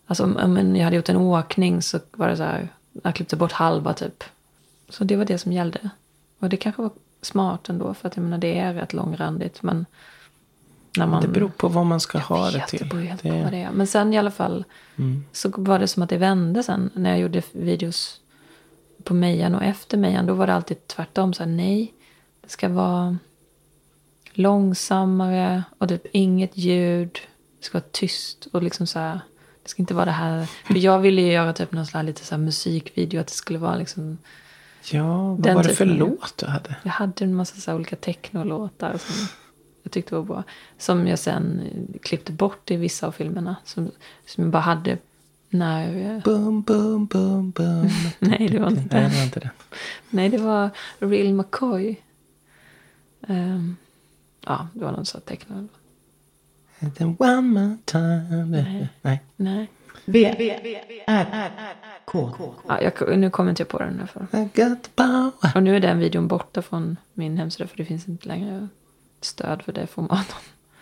[SPEAKER 2] alltså om- om en- jag hade gjort en åkning så var det så här, jag klippte bort halva typ. Så det var det som gällde. Och det kanske var smart ändå, för att jag menar det är rätt långrandigt. Men när man...
[SPEAKER 3] Det beror på vad man ska ha det
[SPEAKER 2] vet,
[SPEAKER 3] till.
[SPEAKER 2] Det beror helt
[SPEAKER 3] Det- Mm.
[SPEAKER 2] på vad det är. Men sen i alla fall så var det som att det vände sen när jag gjorde videos på Mejan och efter Mejan. Då var det alltid tvärtom. Så här, nej, det ska vara långsammare och typ inget ljud. Det ska vara tyst och liksom så här. Det ska inte vara det här. För jag ville ju göra typ någon sån här lite så här musikvideo. Att det skulle vara liksom.
[SPEAKER 3] Ja, vad
[SPEAKER 2] Den
[SPEAKER 3] var det för
[SPEAKER 2] typen av-
[SPEAKER 3] låt du hade?
[SPEAKER 2] Jag hade en massa så här olika technolåtar som jag tyckte var bra. Som jag sen eh, klippte bort i vissa av filmerna. Som, som jag bara hade när... eh,
[SPEAKER 3] Bum, bum, bum, bum.
[SPEAKER 2] Nej, det var inte
[SPEAKER 3] Nej,
[SPEAKER 2] den.
[SPEAKER 3] det var inte den.
[SPEAKER 2] Nej, det var Real McCoy. Ehm, ja, det var någon sån här techno...
[SPEAKER 3] Then one more time. Nej. Nej.
[SPEAKER 2] Nej.
[SPEAKER 1] V, V, R, K.
[SPEAKER 2] Ja, jag, nu kommer inte jag på den. Här
[SPEAKER 3] I got the power.
[SPEAKER 2] och nu är den videon borta från min hemsida. För det finns inte längre stöd för det formatet.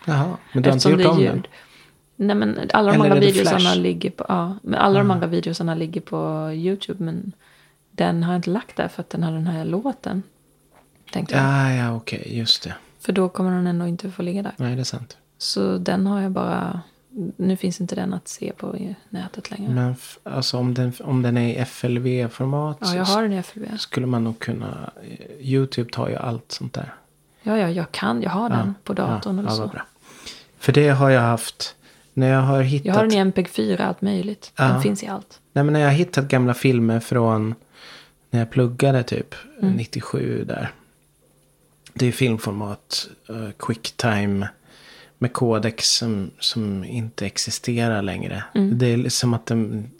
[SPEAKER 3] Jaha, men du har inte
[SPEAKER 2] Eftersom
[SPEAKER 3] gjort om
[SPEAKER 2] det är
[SPEAKER 3] den?
[SPEAKER 2] ljud. Nej men alla de
[SPEAKER 3] Eller
[SPEAKER 2] andra
[SPEAKER 3] är det
[SPEAKER 2] videosarna
[SPEAKER 3] Flash? Mm.
[SPEAKER 2] ligger på, ja, men alla de andra videosarna ligger på YouTube men den har jag inte lagt där för att den har den här låten. Tänkte jag.
[SPEAKER 3] Ja, ja, okej, just det.
[SPEAKER 2] För då kommer den ändå inte få ligga där.
[SPEAKER 3] Nej, det är sant.
[SPEAKER 2] Så den har jag bara, nu finns inte den att se på i nätet längre.
[SPEAKER 3] Men f- alltså om den, om den är i FLV-format
[SPEAKER 2] ja, jag
[SPEAKER 3] så
[SPEAKER 2] har den i FLB.
[SPEAKER 3] skulle man nog kunna... eh, Youtube tar ju allt sånt där.
[SPEAKER 2] Ja, ja, jag kan, jag har den på datorn
[SPEAKER 3] ja,
[SPEAKER 2] eller
[SPEAKER 3] ja,
[SPEAKER 2] så.
[SPEAKER 3] vad bra. För det har jag haft... När jag har hittat...
[SPEAKER 2] Jag har den i MPEG-4, allt möjligt. Den finns i allt.
[SPEAKER 3] Nej, men när jag har hittat gamla filmer från när jag pluggade typ
[SPEAKER 2] Mm.
[SPEAKER 3] 97 där. Det är filmformat, eh, quicktime med kodex som, som inte existerar längre.
[SPEAKER 2] Mm.
[SPEAKER 3] Det är som att den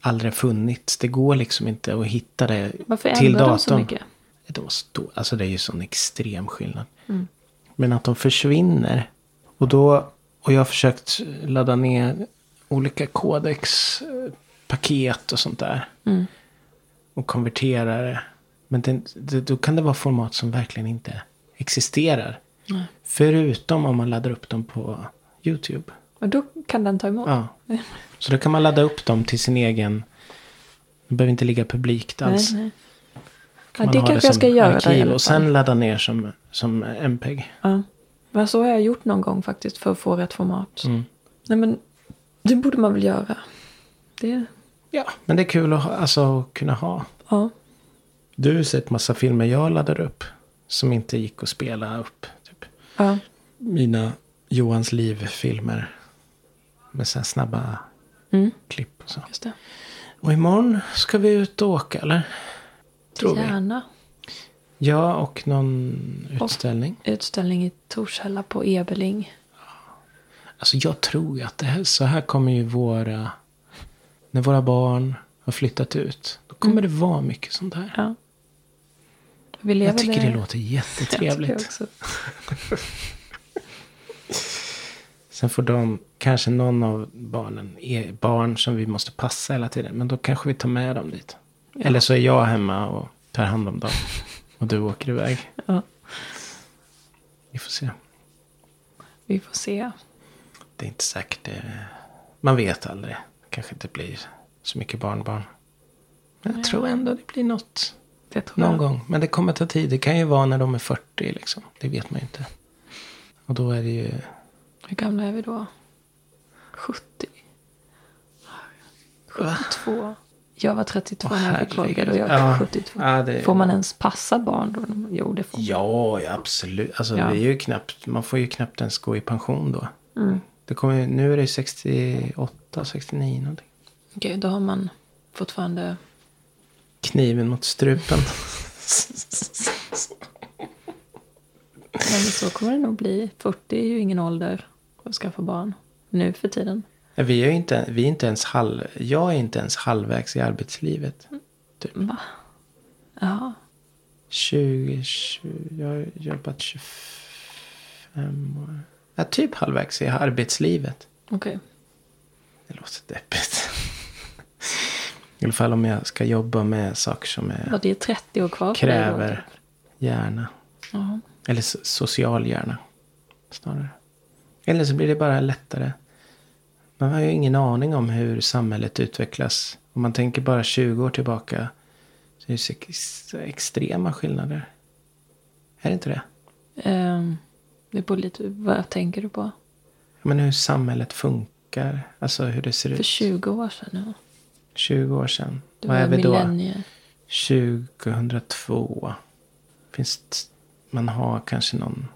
[SPEAKER 3] aldrig har funnits. Det går liksom inte att hitta det
[SPEAKER 2] Varför
[SPEAKER 3] till
[SPEAKER 2] ändrar
[SPEAKER 3] datorn.
[SPEAKER 2] de så mycket?
[SPEAKER 3] De står, alltså det är ju sån extrem skillnad.
[SPEAKER 2] Mm.
[SPEAKER 3] Men att de försvinner. Och då, och jag har försökt ladda ner olika kodex, eh, paket och sånt där.
[SPEAKER 2] Mm.
[SPEAKER 3] Och konvertera det. Men det, det, då kan det vara format som verkligen inte existerar. Förutom om man laddar upp dem på YouTube.
[SPEAKER 2] Och då kan den ta emot.
[SPEAKER 3] Ja.
[SPEAKER 2] Mm.
[SPEAKER 3] Så då kan man ladda upp dem till sin egen... Det behöver inte ligga publikt
[SPEAKER 2] Nej,
[SPEAKER 3] alls.
[SPEAKER 2] nej.
[SPEAKER 3] Kan
[SPEAKER 2] Ja,
[SPEAKER 3] man
[SPEAKER 2] det
[SPEAKER 3] ha
[SPEAKER 2] kanske jag
[SPEAKER 3] som
[SPEAKER 2] ska göra. där i
[SPEAKER 3] Arkiv
[SPEAKER 2] alla fall.
[SPEAKER 3] och sen ladda ner som, som MPEG.
[SPEAKER 2] Ja. Men så har jag gjort någon gång faktiskt för att få rätt format.
[SPEAKER 3] Mm.
[SPEAKER 2] Nej men det borde man väl göra. Det,
[SPEAKER 3] Ja, men det är kul att ha, alltså, att kunna ha.
[SPEAKER 2] ja.
[SPEAKER 3] Du har sett massa filmer jag laddar upp. Som inte gick att spela upp. Typ.
[SPEAKER 2] ja.
[SPEAKER 3] Mina Johans liv-filmer. Med så här snabba
[SPEAKER 2] Mm.
[SPEAKER 3] klipp och så.
[SPEAKER 2] Just det.
[SPEAKER 3] Och imorgon ska vi ut och åka eller? Tror vi.
[SPEAKER 2] Gärna.
[SPEAKER 3] Ja, och någon utställning.
[SPEAKER 2] Utställning i Torshälla på Ebeling.
[SPEAKER 3] Alltså jag tror ju att det här, så här kommer ju våra... När våra barn har flyttat ut. Då kommer det vara mycket sånt här.
[SPEAKER 2] Ja. Vi lever
[SPEAKER 3] Jag tycker det
[SPEAKER 2] där.
[SPEAKER 3] låter
[SPEAKER 2] Jag tycker
[SPEAKER 3] jättetrevligt.
[SPEAKER 2] också.
[SPEAKER 3] Sen får de, kanske någon av barnen, är barn som vi måste passa hela tiden. Men då kanske vi tar med dem dit. Eller så är jag hemma och tar hand om dem. Och du åker iväg.
[SPEAKER 2] Ja.
[SPEAKER 3] Vi får se.
[SPEAKER 2] Vi får se.
[SPEAKER 3] Det är inte säkert. Det, man vet aldrig. Kanske inte blir så mycket barnbarn. Men jag tror ändå det blir något.
[SPEAKER 2] Det tror
[SPEAKER 3] Någon
[SPEAKER 2] jag.
[SPEAKER 3] gång. Men det kommer ta tid. Det kan ju vara när de är 40 liksom. Det vet man ju inte. Och då är det ju...
[SPEAKER 2] Hur gamla är vi då? 70? 72? Jag var 32
[SPEAKER 3] Åh,
[SPEAKER 2] när jag fick
[SPEAKER 3] herregud.
[SPEAKER 2] Volga. Då är jag
[SPEAKER 3] Ja.
[SPEAKER 2] 72.
[SPEAKER 3] Ja, det-
[SPEAKER 2] Får man ens passa barn då? Jo, det får man.
[SPEAKER 3] Ja, ja, absolut. Alltså,
[SPEAKER 2] Ja.
[SPEAKER 3] Det är ju knappt, man får ju knappt ens gå i pension då. Det kommer, ju- nu är det 68, 69 någonting.
[SPEAKER 2] Okej, då har man fortfarande...
[SPEAKER 3] Kniven mot strupen.
[SPEAKER 2] Men så kommer det nog bli. 40 är ju ingen ålder att skaffa barn. Nu för tiden.
[SPEAKER 3] vi, är ju inte, vi är inte ens halv, jag är inte ens halvvägs i arbetslivet. Typ.
[SPEAKER 2] Va? Ja.
[SPEAKER 3] 20, 20, jag har jobbat 25 år. Ja, typ halvvägs i arbetslivet.
[SPEAKER 2] Okej.
[SPEAKER 3] Det låter deppigt. I alla fall om jag ska jobba med saker som
[SPEAKER 2] Ja,
[SPEAKER 3] är,
[SPEAKER 2] Det är 30 år kvar för dig då,
[SPEAKER 3] kräver
[SPEAKER 2] typ.
[SPEAKER 3] hjärna.
[SPEAKER 2] Ja.
[SPEAKER 3] Eller so- social hjärna. Snarare. Eller så blir det bara lättare. Man har ju ingen aning om hur samhället utvecklas. Om man tänker bara 20 år tillbaka. Så är det så ex- extrema skillnader. Är det inte det?
[SPEAKER 2] Ehm, det beror lite vad tänker du på.
[SPEAKER 3] Men hur samhället funkar. Alltså hur det ser
[SPEAKER 2] För
[SPEAKER 3] ut.
[SPEAKER 2] 20 år sedan nu.
[SPEAKER 3] 20 år sedan.
[SPEAKER 2] Du
[SPEAKER 3] Vad är vi då?
[SPEAKER 2] millennier.
[SPEAKER 3] 2002. Finns t- man har kanske någon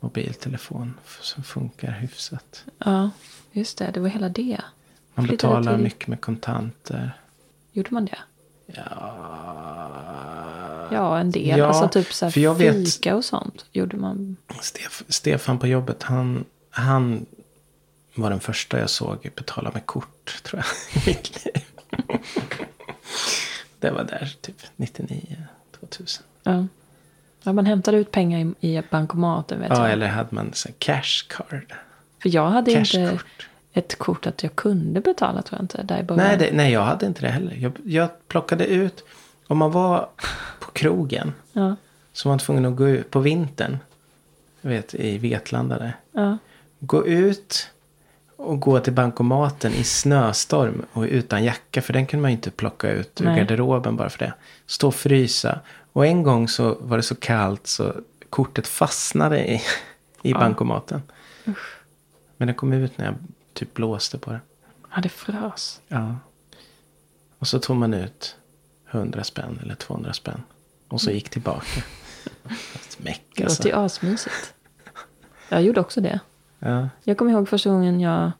[SPEAKER 3] mobiltelefon f- som funkar hyfsat.
[SPEAKER 2] Ja, just det. Det var hela det.
[SPEAKER 3] Man
[SPEAKER 2] Flyttade
[SPEAKER 3] betalar
[SPEAKER 2] till-
[SPEAKER 3] mycket med kontanter.
[SPEAKER 2] Gjorde man det?
[SPEAKER 3] Ja.
[SPEAKER 2] Ja, en del.
[SPEAKER 3] Ja,
[SPEAKER 2] alltså typ så här
[SPEAKER 3] för jag vet-
[SPEAKER 2] fika och sånt. Gjorde man.
[SPEAKER 3] Stef- Stefan på jobbet, han, han var den första jag såg betala med kort, tror jag, i mitt liv. Det var där, typ 99, 2000.
[SPEAKER 2] Ja. ja, man hämtade ut pengar i, i bankomaten vet
[SPEAKER 3] Ja,
[SPEAKER 2] jag.
[SPEAKER 3] eller hade man så här cash card.
[SPEAKER 2] För jag hade inte
[SPEAKER 3] Cashkort.
[SPEAKER 2] ett kort att jag kunde betala tror jag inte. Där i början.
[SPEAKER 3] Nej, det, nej, jag hade inte det heller. Jag, jag plockade ut, om man var på krogen
[SPEAKER 2] Ja,
[SPEAKER 3] så var man tvungen att gå ut på vintern. Jag vet, i Vetlanda där.
[SPEAKER 2] ja.
[SPEAKER 3] Gå ut och gå till bankomaten i snöstorm och utan jacka. För den kunde man ju inte plocka ut ur
[SPEAKER 2] Nej.
[SPEAKER 3] garderoben bara för det. Stå och frysa. Och en gång så var det så kallt så kortet fastnade i, i bankomaten. Men det kom ut när jag typ blåste på det.
[SPEAKER 2] ja, det frös.
[SPEAKER 3] Ja. Och så tog man ut 100 spänn eller 200 spänn. Och så gick tillbaka. Fast Meck
[SPEAKER 2] Det
[SPEAKER 3] alltså.
[SPEAKER 2] låter ju asmysigt. Jag gjorde också det.
[SPEAKER 3] Ja.
[SPEAKER 2] Jag kommer ihåg första gången jag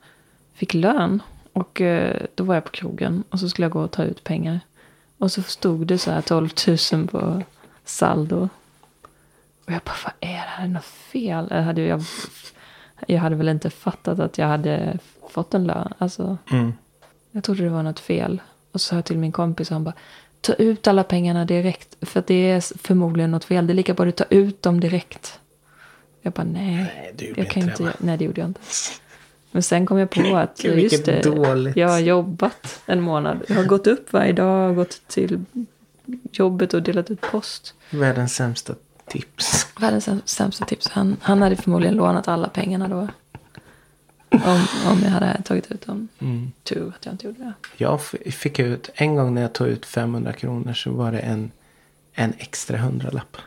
[SPEAKER 2] fick lön. Och eh, då var jag på krogen och så skulle jag gå och ta ut pengar. Och så stod det så här 12 000 på saldo. Och jag bara, vad är det här? Är det något fel? Eller hade jag Jag hade väl inte fattat att jag hade fått en lön. Alltså,
[SPEAKER 3] Mm.
[SPEAKER 2] jag trodde det var något fel. Och så sa jag till min kompis och hon bara, ta ut alla pengarna direkt. För att det är förmodligen något fel. Det är lika bra du tar ut dem direkt. Jag bara, nej.
[SPEAKER 3] Nej, du gjorde
[SPEAKER 2] jag kan
[SPEAKER 3] inte
[SPEAKER 2] inte,
[SPEAKER 3] det, va?
[SPEAKER 2] nej, det gjorde jag inte. Men sen kom jag på att,
[SPEAKER 3] Gud,
[SPEAKER 2] just det,
[SPEAKER 3] vilket dåligt.
[SPEAKER 2] jag har jobbat en månad. Jag har gått upp varje dag, och gått till jobbet och delat ut post.
[SPEAKER 3] Världens sämsta tips.
[SPEAKER 2] Världens säm- sämsta tips. Han, han hade förmodligen lånat alla pengarna då. Om, om jag hade tagit ut dem.
[SPEAKER 3] Mm.
[SPEAKER 2] Tur att jag inte gjorde det.
[SPEAKER 3] Jag f- fick ut, en gång när jag tog ut 500 kronor så var det en, en extra hundralapp.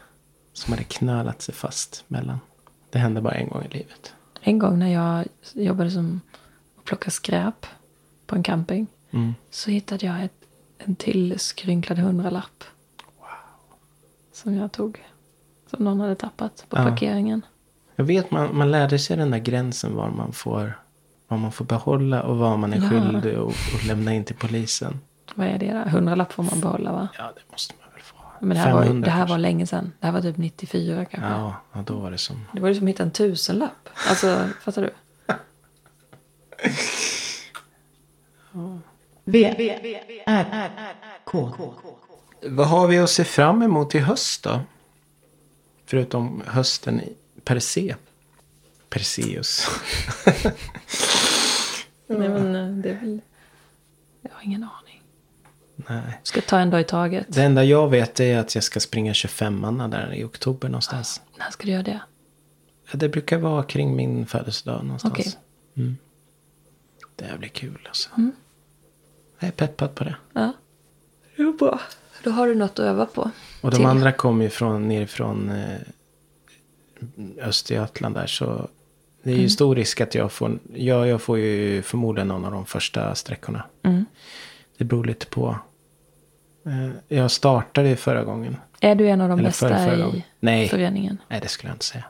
[SPEAKER 3] Som hade knölat sig fast mellan. Det hände bara en gång i livet.
[SPEAKER 2] En gång när jag jobbade som och plockade skräp på en camping.
[SPEAKER 3] Mm.
[SPEAKER 2] Så hittade jag ett, en till skrynklad hundralapp. Som jag tog. Som någon hade tappat på
[SPEAKER 3] Ja.
[SPEAKER 2] parkeringen.
[SPEAKER 3] Jag vet man, man lärde sig den där gränsen var man får, vad man får behålla och vad man är
[SPEAKER 2] Ja.
[SPEAKER 3] skyldig och, och lämna in till polisen.
[SPEAKER 2] Vad är det där? Hundralapp får man behålla va?
[SPEAKER 3] Ja, det måste man väl få.
[SPEAKER 2] Men det här, var, ju- det här
[SPEAKER 3] kanske.
[SPEAKER 2] var länge sedan. Det här var typ 94 kanske.
[SPEAKER 3] Ja, ja, då var det som...
[SPEAKER 2] Det var ju som att hitta en tusenlapp. Alltså, fattar du?
[SPEAKER 1] V, V, R, K.
[SPEAKER 3] Vad har vi att se fram emot i höst då? Förutom hösten i- per se. Perseus.
[SPEAKER 2] Nej men eh, det är väl... Jag har ingen aning.
[SPEAKER 3] Nej.
[SPEAKER 2] Ska ta en dag i taget.
[SPEAKER 3] Det enda jag vet är att jag ska springa 25 där i oktober någonstans.
[SPEAKER 2] När ska du göra det?
[SPEAKER 3] Ja, Det brukar vara kring min födelsedag någonstans.
[SPEAKER 2] Okej. Mm.
[SPEAKER 3] Mm. Det här blir kul alltså. Jag är peppad på det.
[SPEAKER 2] Ja. Det var bra. Då har du något att öva på.
[SPEAKER 3] Och de
[SPEAKER 2] till.
[SPEAKER 3] andra kommer ju från, nerifrån eh, Östergötland där. Så det är
[SPEAKER 2] Mm.
[SPEAKER 3] ju stor risk att jag får, ja, jag får ju förmodligen någon av de första sträckorna.
[SPEAKER 2] Mm.
[SPEAKER 3] Det beror lite på. Eh, jag startade ju förra gången.
[SPEAKER 2] Är du en av de
[SPEAKER 3] Eller
[SPEAKER 2] bästa
[SPEAKER 3] förra, förra gången.
[SPEAKER 2] i
[SPEAKER 3] Nej.
[SPEAKER 2] föreningen?
[SPEAKER 3] Nej, det skulle jag inte säga.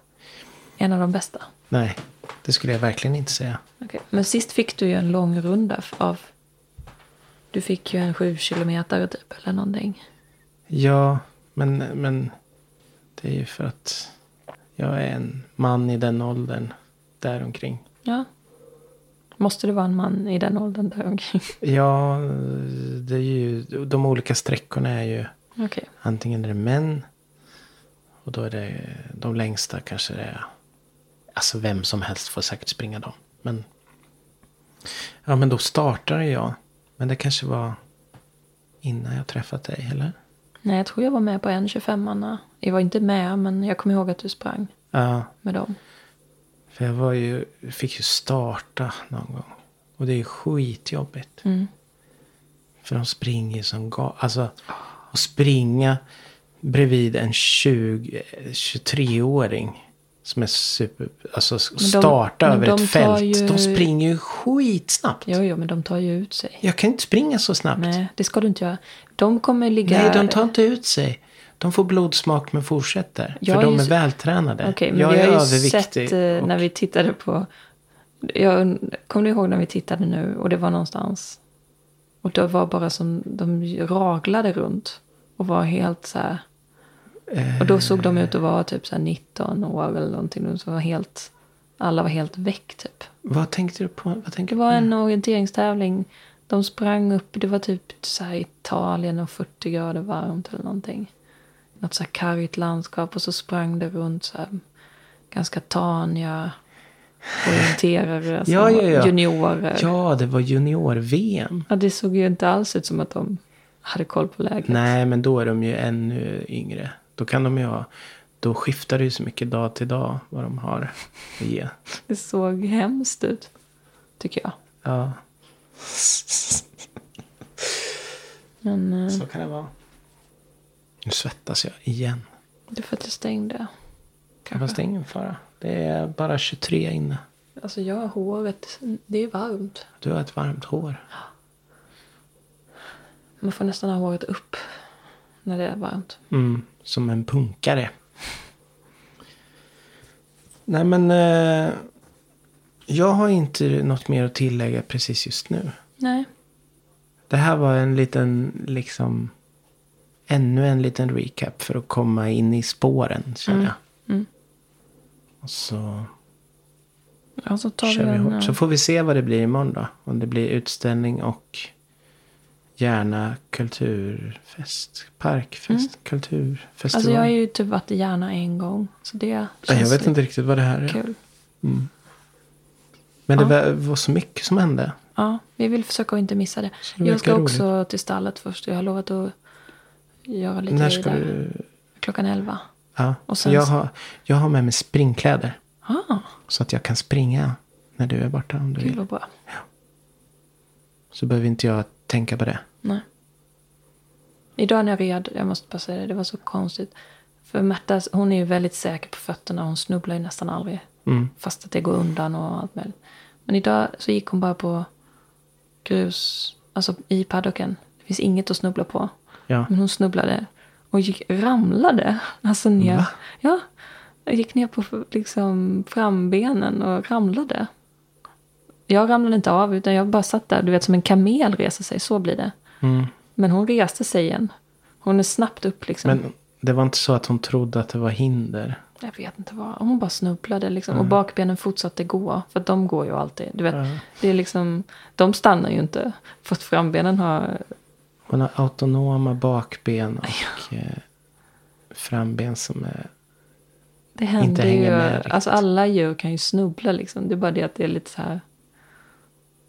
[SPEAKER 2] En av de bästa?
[SPEAKER 3] Nej, det skulle jag verkligen inte säga.
[SPEAKER 2] Okej. Men sist fick du ju en lång runda f- av... Du fick ju en sju kilometer typ, eller någonting.
[SPEAKER 3] Ja, men, men det är ju för att jag är en man i den åldern däromkring.
[SPEAKER 2] Ja. Måste det vara en man i den åldern där omkring?
[SPEAKER 3] Ja, det är ju, de olika sträckorna är ju
[SPEAKER 2] Okej.
[SPEAKER 3] antingen är det män och då är det de längsta kanske det är. Alltså vem som helst får säkert springa dem. Men, ja, men då startade jag. Men det kanske var innan jag träffat dig, eller?
[SPEAKER 2] Nej, jag tror jag var med på en 25 anna Jag var inte med, men jag kommer ihåg att du sprang
[SPEAKER 3] Ja,
[SPEAKER 2] med dem.
[SPEAKER 3] för jag var ju, fick ju starta någon gång. Och det är ju skitjobbigt.
[SPEAKER 2] Mm.
[SPEAKER 3] För de springer ju som ga- Alltså, att springa bredvid en 20 23-åring som är super... Alltså s-
[SPEAKER 2] de-
[SPEAKER 3] starta
[SPEAKER 2] men
[SPEAKER 3] över
[SPEAKER 2] de
[SPEAKER 3] ett
[SPEAKER 2] tar
[SPEAKER 3] fält.
[SPEAKER 2] ju-
[SPEAKER 3] De springer ju skitsnabbt.
[SPEAKER 2] Jo, jo, men de tar ju ut sig.
[SPEAKER 3] Jag kan inte springa så snabbt. Nej,
[SPEAKER 2] Nej, det ska du inte göra. De kommer ligga...
[SPEAKER 3] de tar inte ut sig. De får blodsmak men fortsätter.
[SPEAKER 2] Jag
[SPEAKER 3] för
[SPEAKER 2] är
[SPEAKER 3] de
[SPEAKER 2] ju
[SPEAKER 3] är
[SPEAKER 2] så-
[SPEAKER 3] vältränade.
[SPEAKER 2] Okej, men
[SPEAKER 3] jag
[SPEAKER 2] vi
[SPEAKER 3] är
[SPEAKER 2] har ju
[SPEAKER 3] överviktig.
[SPEAKER 2] sett eh,
[SPEAKER 3] och-
[SPEAKER 2] när vi tittade på... Jag, und- kommer du ihåg när vi tittade nu och det var någonstans? Och det var bara som de raglade runt och var helt så här... Och då såg de ut att vara typ så här 19 år eller någonting. De var helt, alla var helt väck typ.
[SPEAKER 3] Vad tänkte du på? Vad
[SPEAKER 2] Det
[SPEAKER 3] tänkte
[SPEAKER 2] var en orienteringstävling. De sprang upp, det var typ så här Italien och 40 grader varmt eller någonting. Något så här kargt landskap och så sprang det runt så här ganska taniga orienterare, som
[SPEAKER 3] Ja, ja, ja.
[SPEAKER 2] juniorer. Ja.
[SPEAKER 3] Ja, det var junior-VM.
[SPEAKER 2] det såg ju inte alls ut som att de hade koll på läget.
[SPEAKER 3] Nej, men då är de ju ännu yngre. Då kan de ju ha... Då skiftar det ju så mycket dag till dag vad de har att ge.
[SPEAKER 2] Det såg hemskt ut, tycker jag.
[SPEAKER 3] Ja,
[SPEAKER 2] Men eh,
[SPEAKER 3] så kan det vara. Nu svettas jag igen.
[SPEAKER 2] det är för att jag stängde.
[SPEAKER 3] Fast det är ingen fara. Det är bara 23 inne.
[SPEAKER 2] Alltså jag har håret, det är varmt.
[SPEAKER 3] Du har ett varmt hår.
[SPEAKER 2] Man får nästan ha håret upp när det är varmt.
[SPEAKER 3] Mm, som en punkare. Nej, men... Eh, jag har inte något mer att tillägga precis just nu.
[SPEAKER 2] Nej.
[SPEAKER 3] Det här var en liten, liksom, ännu en liten recap för att komma
[SPEAKER 2] Mm.
[SPEAKER 3] in i spåren, känner jag. Och så
[SPEAKER 2] Ja, så tar vi
[SPEAKER 3] Kör vi
[SPEAKER 2] en...
[SPEAKER 3] hårt. Så
[SPEAKER 2] eh,
[SPEAKER 3] får vi se vad det blir imorgon då. Om det blir utställning och gärna kulturfest. Parkfest. Kulturfestival.
[SPEAKER 2] Mm. Alltså jag har ju typ varit i Järna en gång. Så det
[SPEAKER 3] Nej,
[SPEAKER 2] känns
[SPEAKER 3] jag vet
[SPEAKER 2] lite
[SPEAKER 3] inte riktigt vad det här är.
[SPEAKER 2] kul.
[SPEAKER 3] Men det
[SPEAKER 2] Ja.
[SPEAKER 3] var, var så mycket som hände.
[SPEAKER 2] Ja, vi vill försöka att inte missa det.
[SPEAKER 3] det verkar
[SPEAKER 2] jag ska
[SPEAKER 3] roligt.
[SPEAKER 2] också till stallet först. Jag har lovat att göra lite
[SPEAKER 3] När
[SPEAKER 2] grejer
[SPEAKER 3] ska
[SPEAKER 2] där.
[SPEAKER 3] du...
[SPEAKER 2] Klockan elva.
[SPEAKER 3] Ja.
[SPEAKER 2] Och sen-
[SPEAKER 3] jag, har, jag har med mig springkläder.
[SPEAKER 2] Ah,
[SPEAKER 3] Så att jag kan springa när du är borta om du
[SPEAKER 2] kul
[SPEAKER 3] vill.
[SPEAKER 2] och bra.
[SPEAKER 3] Så behöver inte jag tänka på det.
[SPEAKER 2] Nej. Idag när jag red, jag måste bara säga det, det var så konstigt. För Märta, hon är ju väldigt säker på fötterna. Hon snubblar ju nästan aldrig.
[SPEAKER 3] Mm.
[SPEAKER 2] Fast att det går undan och allt möjligt. Men idag så gick hon bara på grus, alltså i paddocken. Det finns inget att snubbla på.
[SPEAKER 3] Ja.
[SPEAKER 2] Men hon snubblade och gick, ramlade. Alltså ner.
[SPEAKER 3] Va?
[SPEAKER 2] Ja. Gick ner på liksom frambenen och ramlade. Jag ramlade inte av utan jag bara satt där. Du vet som en kamel reser sig. Så blir det. Men hon reste sig igen. Hon är snabbt upp liksom.
[SPEAKER 3] Men det var inte så att hon trodde att det var hinder.
[SPEAKER 2] Jag vet inte vad. Hon bara snubblade liksom.
[SPEAKER 3] Mm.
[SPEAKER 2] Och bakbenen fortsatte gå. För att de går ju alltid. Du vet, det är liksom, de stannar ju inte. För att frambenen har...
[SPEAKER 3] Hon har autonoma bakben och eh, framben som eh, är...
[SPEAKER 2] Det händer ju.
[SPEAKER 3] hänger med riktigt.
[SPEAKER 2] Alltså alla djur kan ju snubbla liksom. Det är bara det att det är lite så här.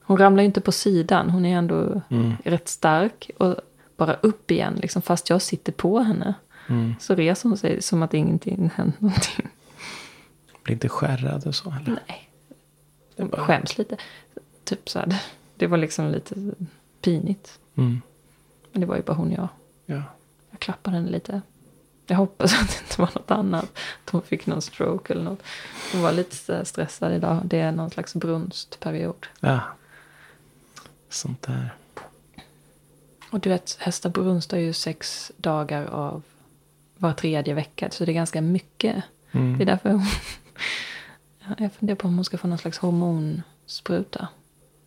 [SPEAKER 2] Hon ramlar ju inte på sidan. Hon är ändå
[SPEAKER 3] Mm.
[SPEAKER 2] rätt stark. Och bara upp igen liksom. Fast jag sitter på henne.
[SPEAKER 3] Mm.
[SPEAKER 2] Så reser hon sig som att ingenting hänt någonting.
[SPEAKER 3] Blir inte skärrad och så. Eller?
[SPEAKER 2] Nej. Hon skäms lite. Typ så här. Det var liksom lite pinigt.
[SPEAKER 3] Mm.
[SPEAKER 2] Men det var ju bara hon och jag.
[SPEAKER 3] Ja.
[SPEAKER 2] Jag klappade henne lite. Jag hoppas att det inte var något annat. Att hon fick någon stroke eller något. Hon var lite så här stressad idag. Det är någon slags brunstperiod.
[SPEAKER 3] ja. Sånt där.
[SPEAKER 2] Och du vet, hästar brunstar ju sex dagar av var tredje vecka. Så det är ganska mycket. Det är därför hon... Ja, Jag funderar på om hon ska få någon slags hormonspruta.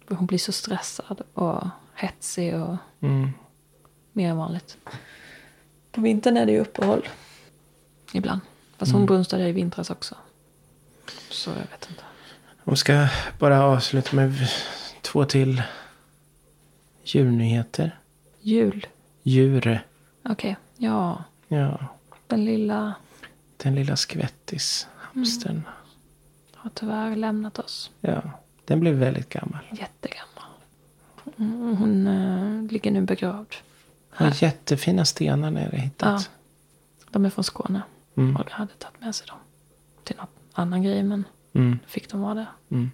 [SPEAKER 2] För hon blir så stressad och hetsig och
[SPEAKER 3] Mm.
[SPEAKER 2] mer än vanligt. På vintern är det ju uppehåll. Mm. Ibland. Fast hon brunstade i vintras också. Så jag vet inte.
[SPEAKER 3] Om vi ska bara avsluta med v- två till djurnyheter.
[SPEAKER 2] Jul.
[SPEAKER 3] Djur.
[SPEAKER 2] Okej. Ja.
[SPEAKER 3] Ja.
[SPEAKER 2] Den lilla
[SPEAKER 3] Den lilla skvättis. Hamstern.
[SPEAKER 2] har tyvärr lämnat oss.
[SPEAKER 3] Ja. Den blev väldigt gammal.
[SPEAKER 2] Jättegammal. Mm, hon eh, ligger nu begravd.
[SPEAKER 3] Har jättefina stenar nere hittat.
[SPEAKER 2] De är från Skåne.
[SPEAKER 3] Mm.
[SPEAKER 2] Olga hade tagit med sig dem. Till någon annan grej men
[SPEAKER 3] Mm.
[SPEAKER 2] då fick de vara där.
[SPEAKER 3] Mm.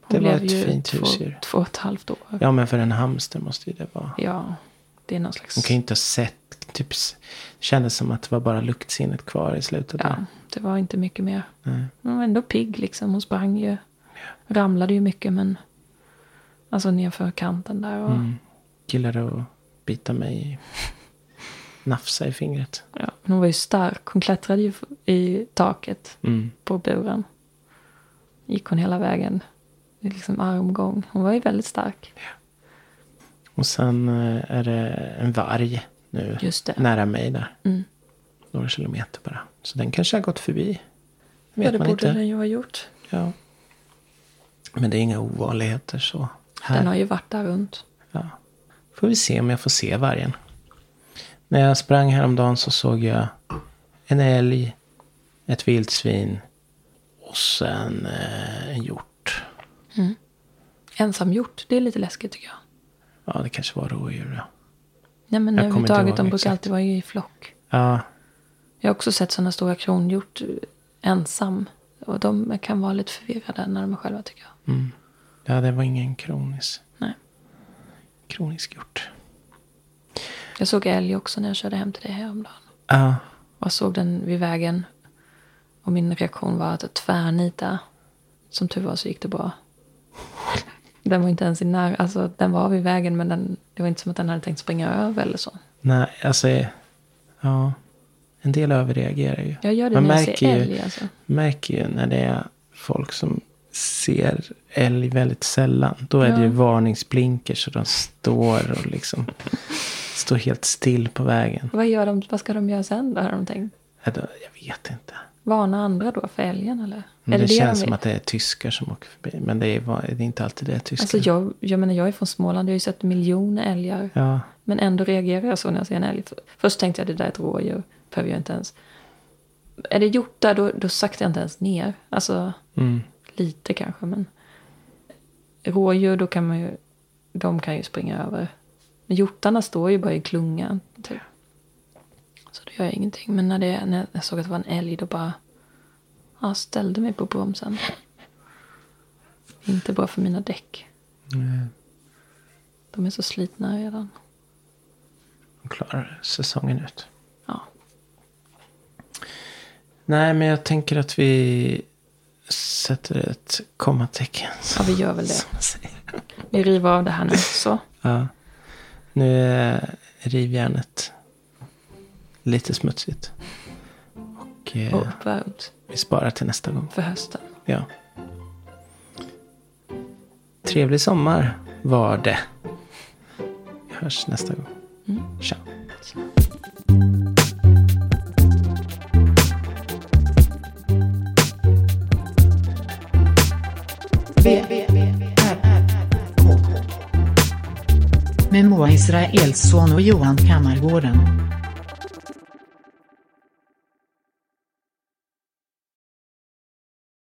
[SPEAKER 2] Hon
[SPEAKER 3] Det var
[SPEAKER 2] blev
[SPEAKER 3] ett
[SPEAKER 2] ju
[SPEAKER 3] fint
[SPEAKER 2] två,
[SPEAKER 3] husdjur.
[SPEAKER 2] två och ett halvt år. Ja.
[SPEAKER 3] Ja, men för en hamster måste ju det vara.
[SPEAKER 2] det är någon slags...
[SPEAKER 3] Hon kan ju inte ha sett. Typ, s- kändes som att det var bara luktsinnet kvar i slutet.
[SPEAKER 2] Ja,
[SPEAKER 3] där.
[SPEAKER 2] det var inte mycket mer.
[SPEAKER 3] Nej.
[SPEAKER 2] Hon var ändå pigg liksom. Hon sprang ju. Ramlade ju mycket men. Alltså nerför kanten där. Och,
[SPEAKER 3] Mm. Gillade att bita mig i... Nafsa i fingret.
[SPEAKER 2] ja, men hon var ju stark. Hon klättrade ju f- i taket
[SPEAKER 3] Mm.
[SPEAKER 2] på buren. Gick hon hela vägen. Det är Liksom armgång. Hon var ju väldigt stark.
[SPEAKER 3] Och sen eh, är det en varg nu.
[SPEAKER 2] Just det.
[SPEAKER 3] Nära mig där.
[SPEAKER 2] Mm.
[SPEAKER 3] Några kilometer bara. Så den kanske har gått förbi. Det
[SPEAKER 2] Ja,
[SPEAKER 3] vet
[SPEAKER 2] det
[SPEAKER 3] man
[SPEAKER 2] borde
[SPEAKER 3] inte.
[SPEAKER 2] den ju ha gjort.
[SPEAKER 3] Ja. Men det är inga ovanligheter så. Här.
[SPEAKER 2] Den har ju varit där runt.
[SPEAKER 3] Ja. Får vi se om jag får se vargen. När jag sprang häromdagen så såg jag en älg, ett vildsvin och sen eh, en hjort.
[SPEAKER 2] Ensam gjort, det är lite läskigt tycker jag.
[SPEAKER 3] Ja, det kanske var rådjur. Ja,
[SPEAKER 2] Nej men
[SPEAKER 3] Jag kommer inte
[SPEAKER 2] överhuvudtaget,
[SPEAKER 3] ihåg
[SPEAKER 2] de brukar
[SPEAKER 3] exakt.
[SPEAKER 2] alltid vara i flock.
[SPEAKER 3] ja
[SPEAKER 2] Jag har också sett sådana stora kronhjort eh, ensam. Och de kan vara lite förvirrade när de är själva tycker jag.
[SPEAKER 3] Mm. ja det var ingen kronisk,
[SPEAKER 2] Nej.
[SPEAKER 3] kronisk hjort.
[SPEAKER 2] Jag såg älg också när jag körde hem till dig häromdagen.
[SPEAKER 3] Ja,
[SPEAKER 2] Jag såg den vid vägen. Och min reaktion var att tvärnita. Som tur var så gick det bra. Den var inte ens i när, alltså den var vid vägen men den, det var inte som att den hade tänkt springa över eller så.
[SPEAKER 3] nej, alltså, ja. En del överreagerar ju.
[SPEAKER 2] Jag gör det
[SPEAKER 3] Man
[SPEAKER 2] när jag
[SPEAKER 3] märker
[SPEAKER 2] ser
[SPEAKER 3] ju-
[SPEAKER 2] älg alltså.
[SPEAKER 3] märker ju när det är folk som ser älg väldigt sällan. Då är det ju
[SPEAKER 2] Ja.
[SPEAKER 3] varningsblinkers så de står och liksom står helt still på vägen.
[SPEAKER 2] Vad, gör de, vad ska de göra sen då har de tänkt?
[SPEAKER 3] Ja, då- Jag vet inte.
[SPEAKER 2] varna andra då för älgen eller?
[SPEAKER 3] Men Mm, det,
[SPEAKER 2] de
[SPEAKER 3] känns som
[SPEAKER 2] vill?
[SPEAKER 3] att det är tyskar som åker förbi. Men det är, va- det är inte alltid det är tyskar.
[SPEAKER 2] Alltså jag, jag menar jag är från Småland, jag har ju sett miljoner älgar.
[SPEAKER 3] Ja,
[SPEAKER 2] Men ändå reagerar jag så när jag ser en älg. För- Först tänkte jag det där är ett rådjur, behöver jag inte ens. Är det gjort där då, då saktar jag inte ens ner. Alltså
[SPEAKER 3] mm.
[SPEAKER 2] lite kanske men. Rådjur då kan man ju, de kan ju springa över. Men hjortarna står ju bara i klungan. Typ. Så då gör jag ingenting. Men när, det, när jag såg att det var en älg då bara, ja ställde mig på bromsen. Inte bra för mina däck.
[SPEAKER 3] Nej,
[SPEAKER 2] De är så slitna redan.
[SPEAKER 3] de klarar säsongen ut.
[SPEAKER 2] Ja.
[SPEAKER 3] Nej, men jag tänker att vi sätter ett kommatecken.
[SPEAKER 2] Ja, vi gör väl det.
[SPEAKER 3] Som man säger.
[SPEAKER 2] Vi river av det här nu. Så.
[SPEAKER 3] Ja. Nu är rivjärnet lite smutsigt. Och eh,
[SPEAKER 2] Och uppvärmt
[SPEAKER 3] vi sparar till nästa gång.
[SPEAKER 2] för hösten.
[SPEAKER 3] Ja. Trevlig sommar var det. Vi hörs nästa gång.
[SPEAKER 2] Mm.
[SPEAKER 3] Tja.
[SPEAKER 1] B, B, B, R, R, R, K. Med Moa Israelsson och Johan Kammargården.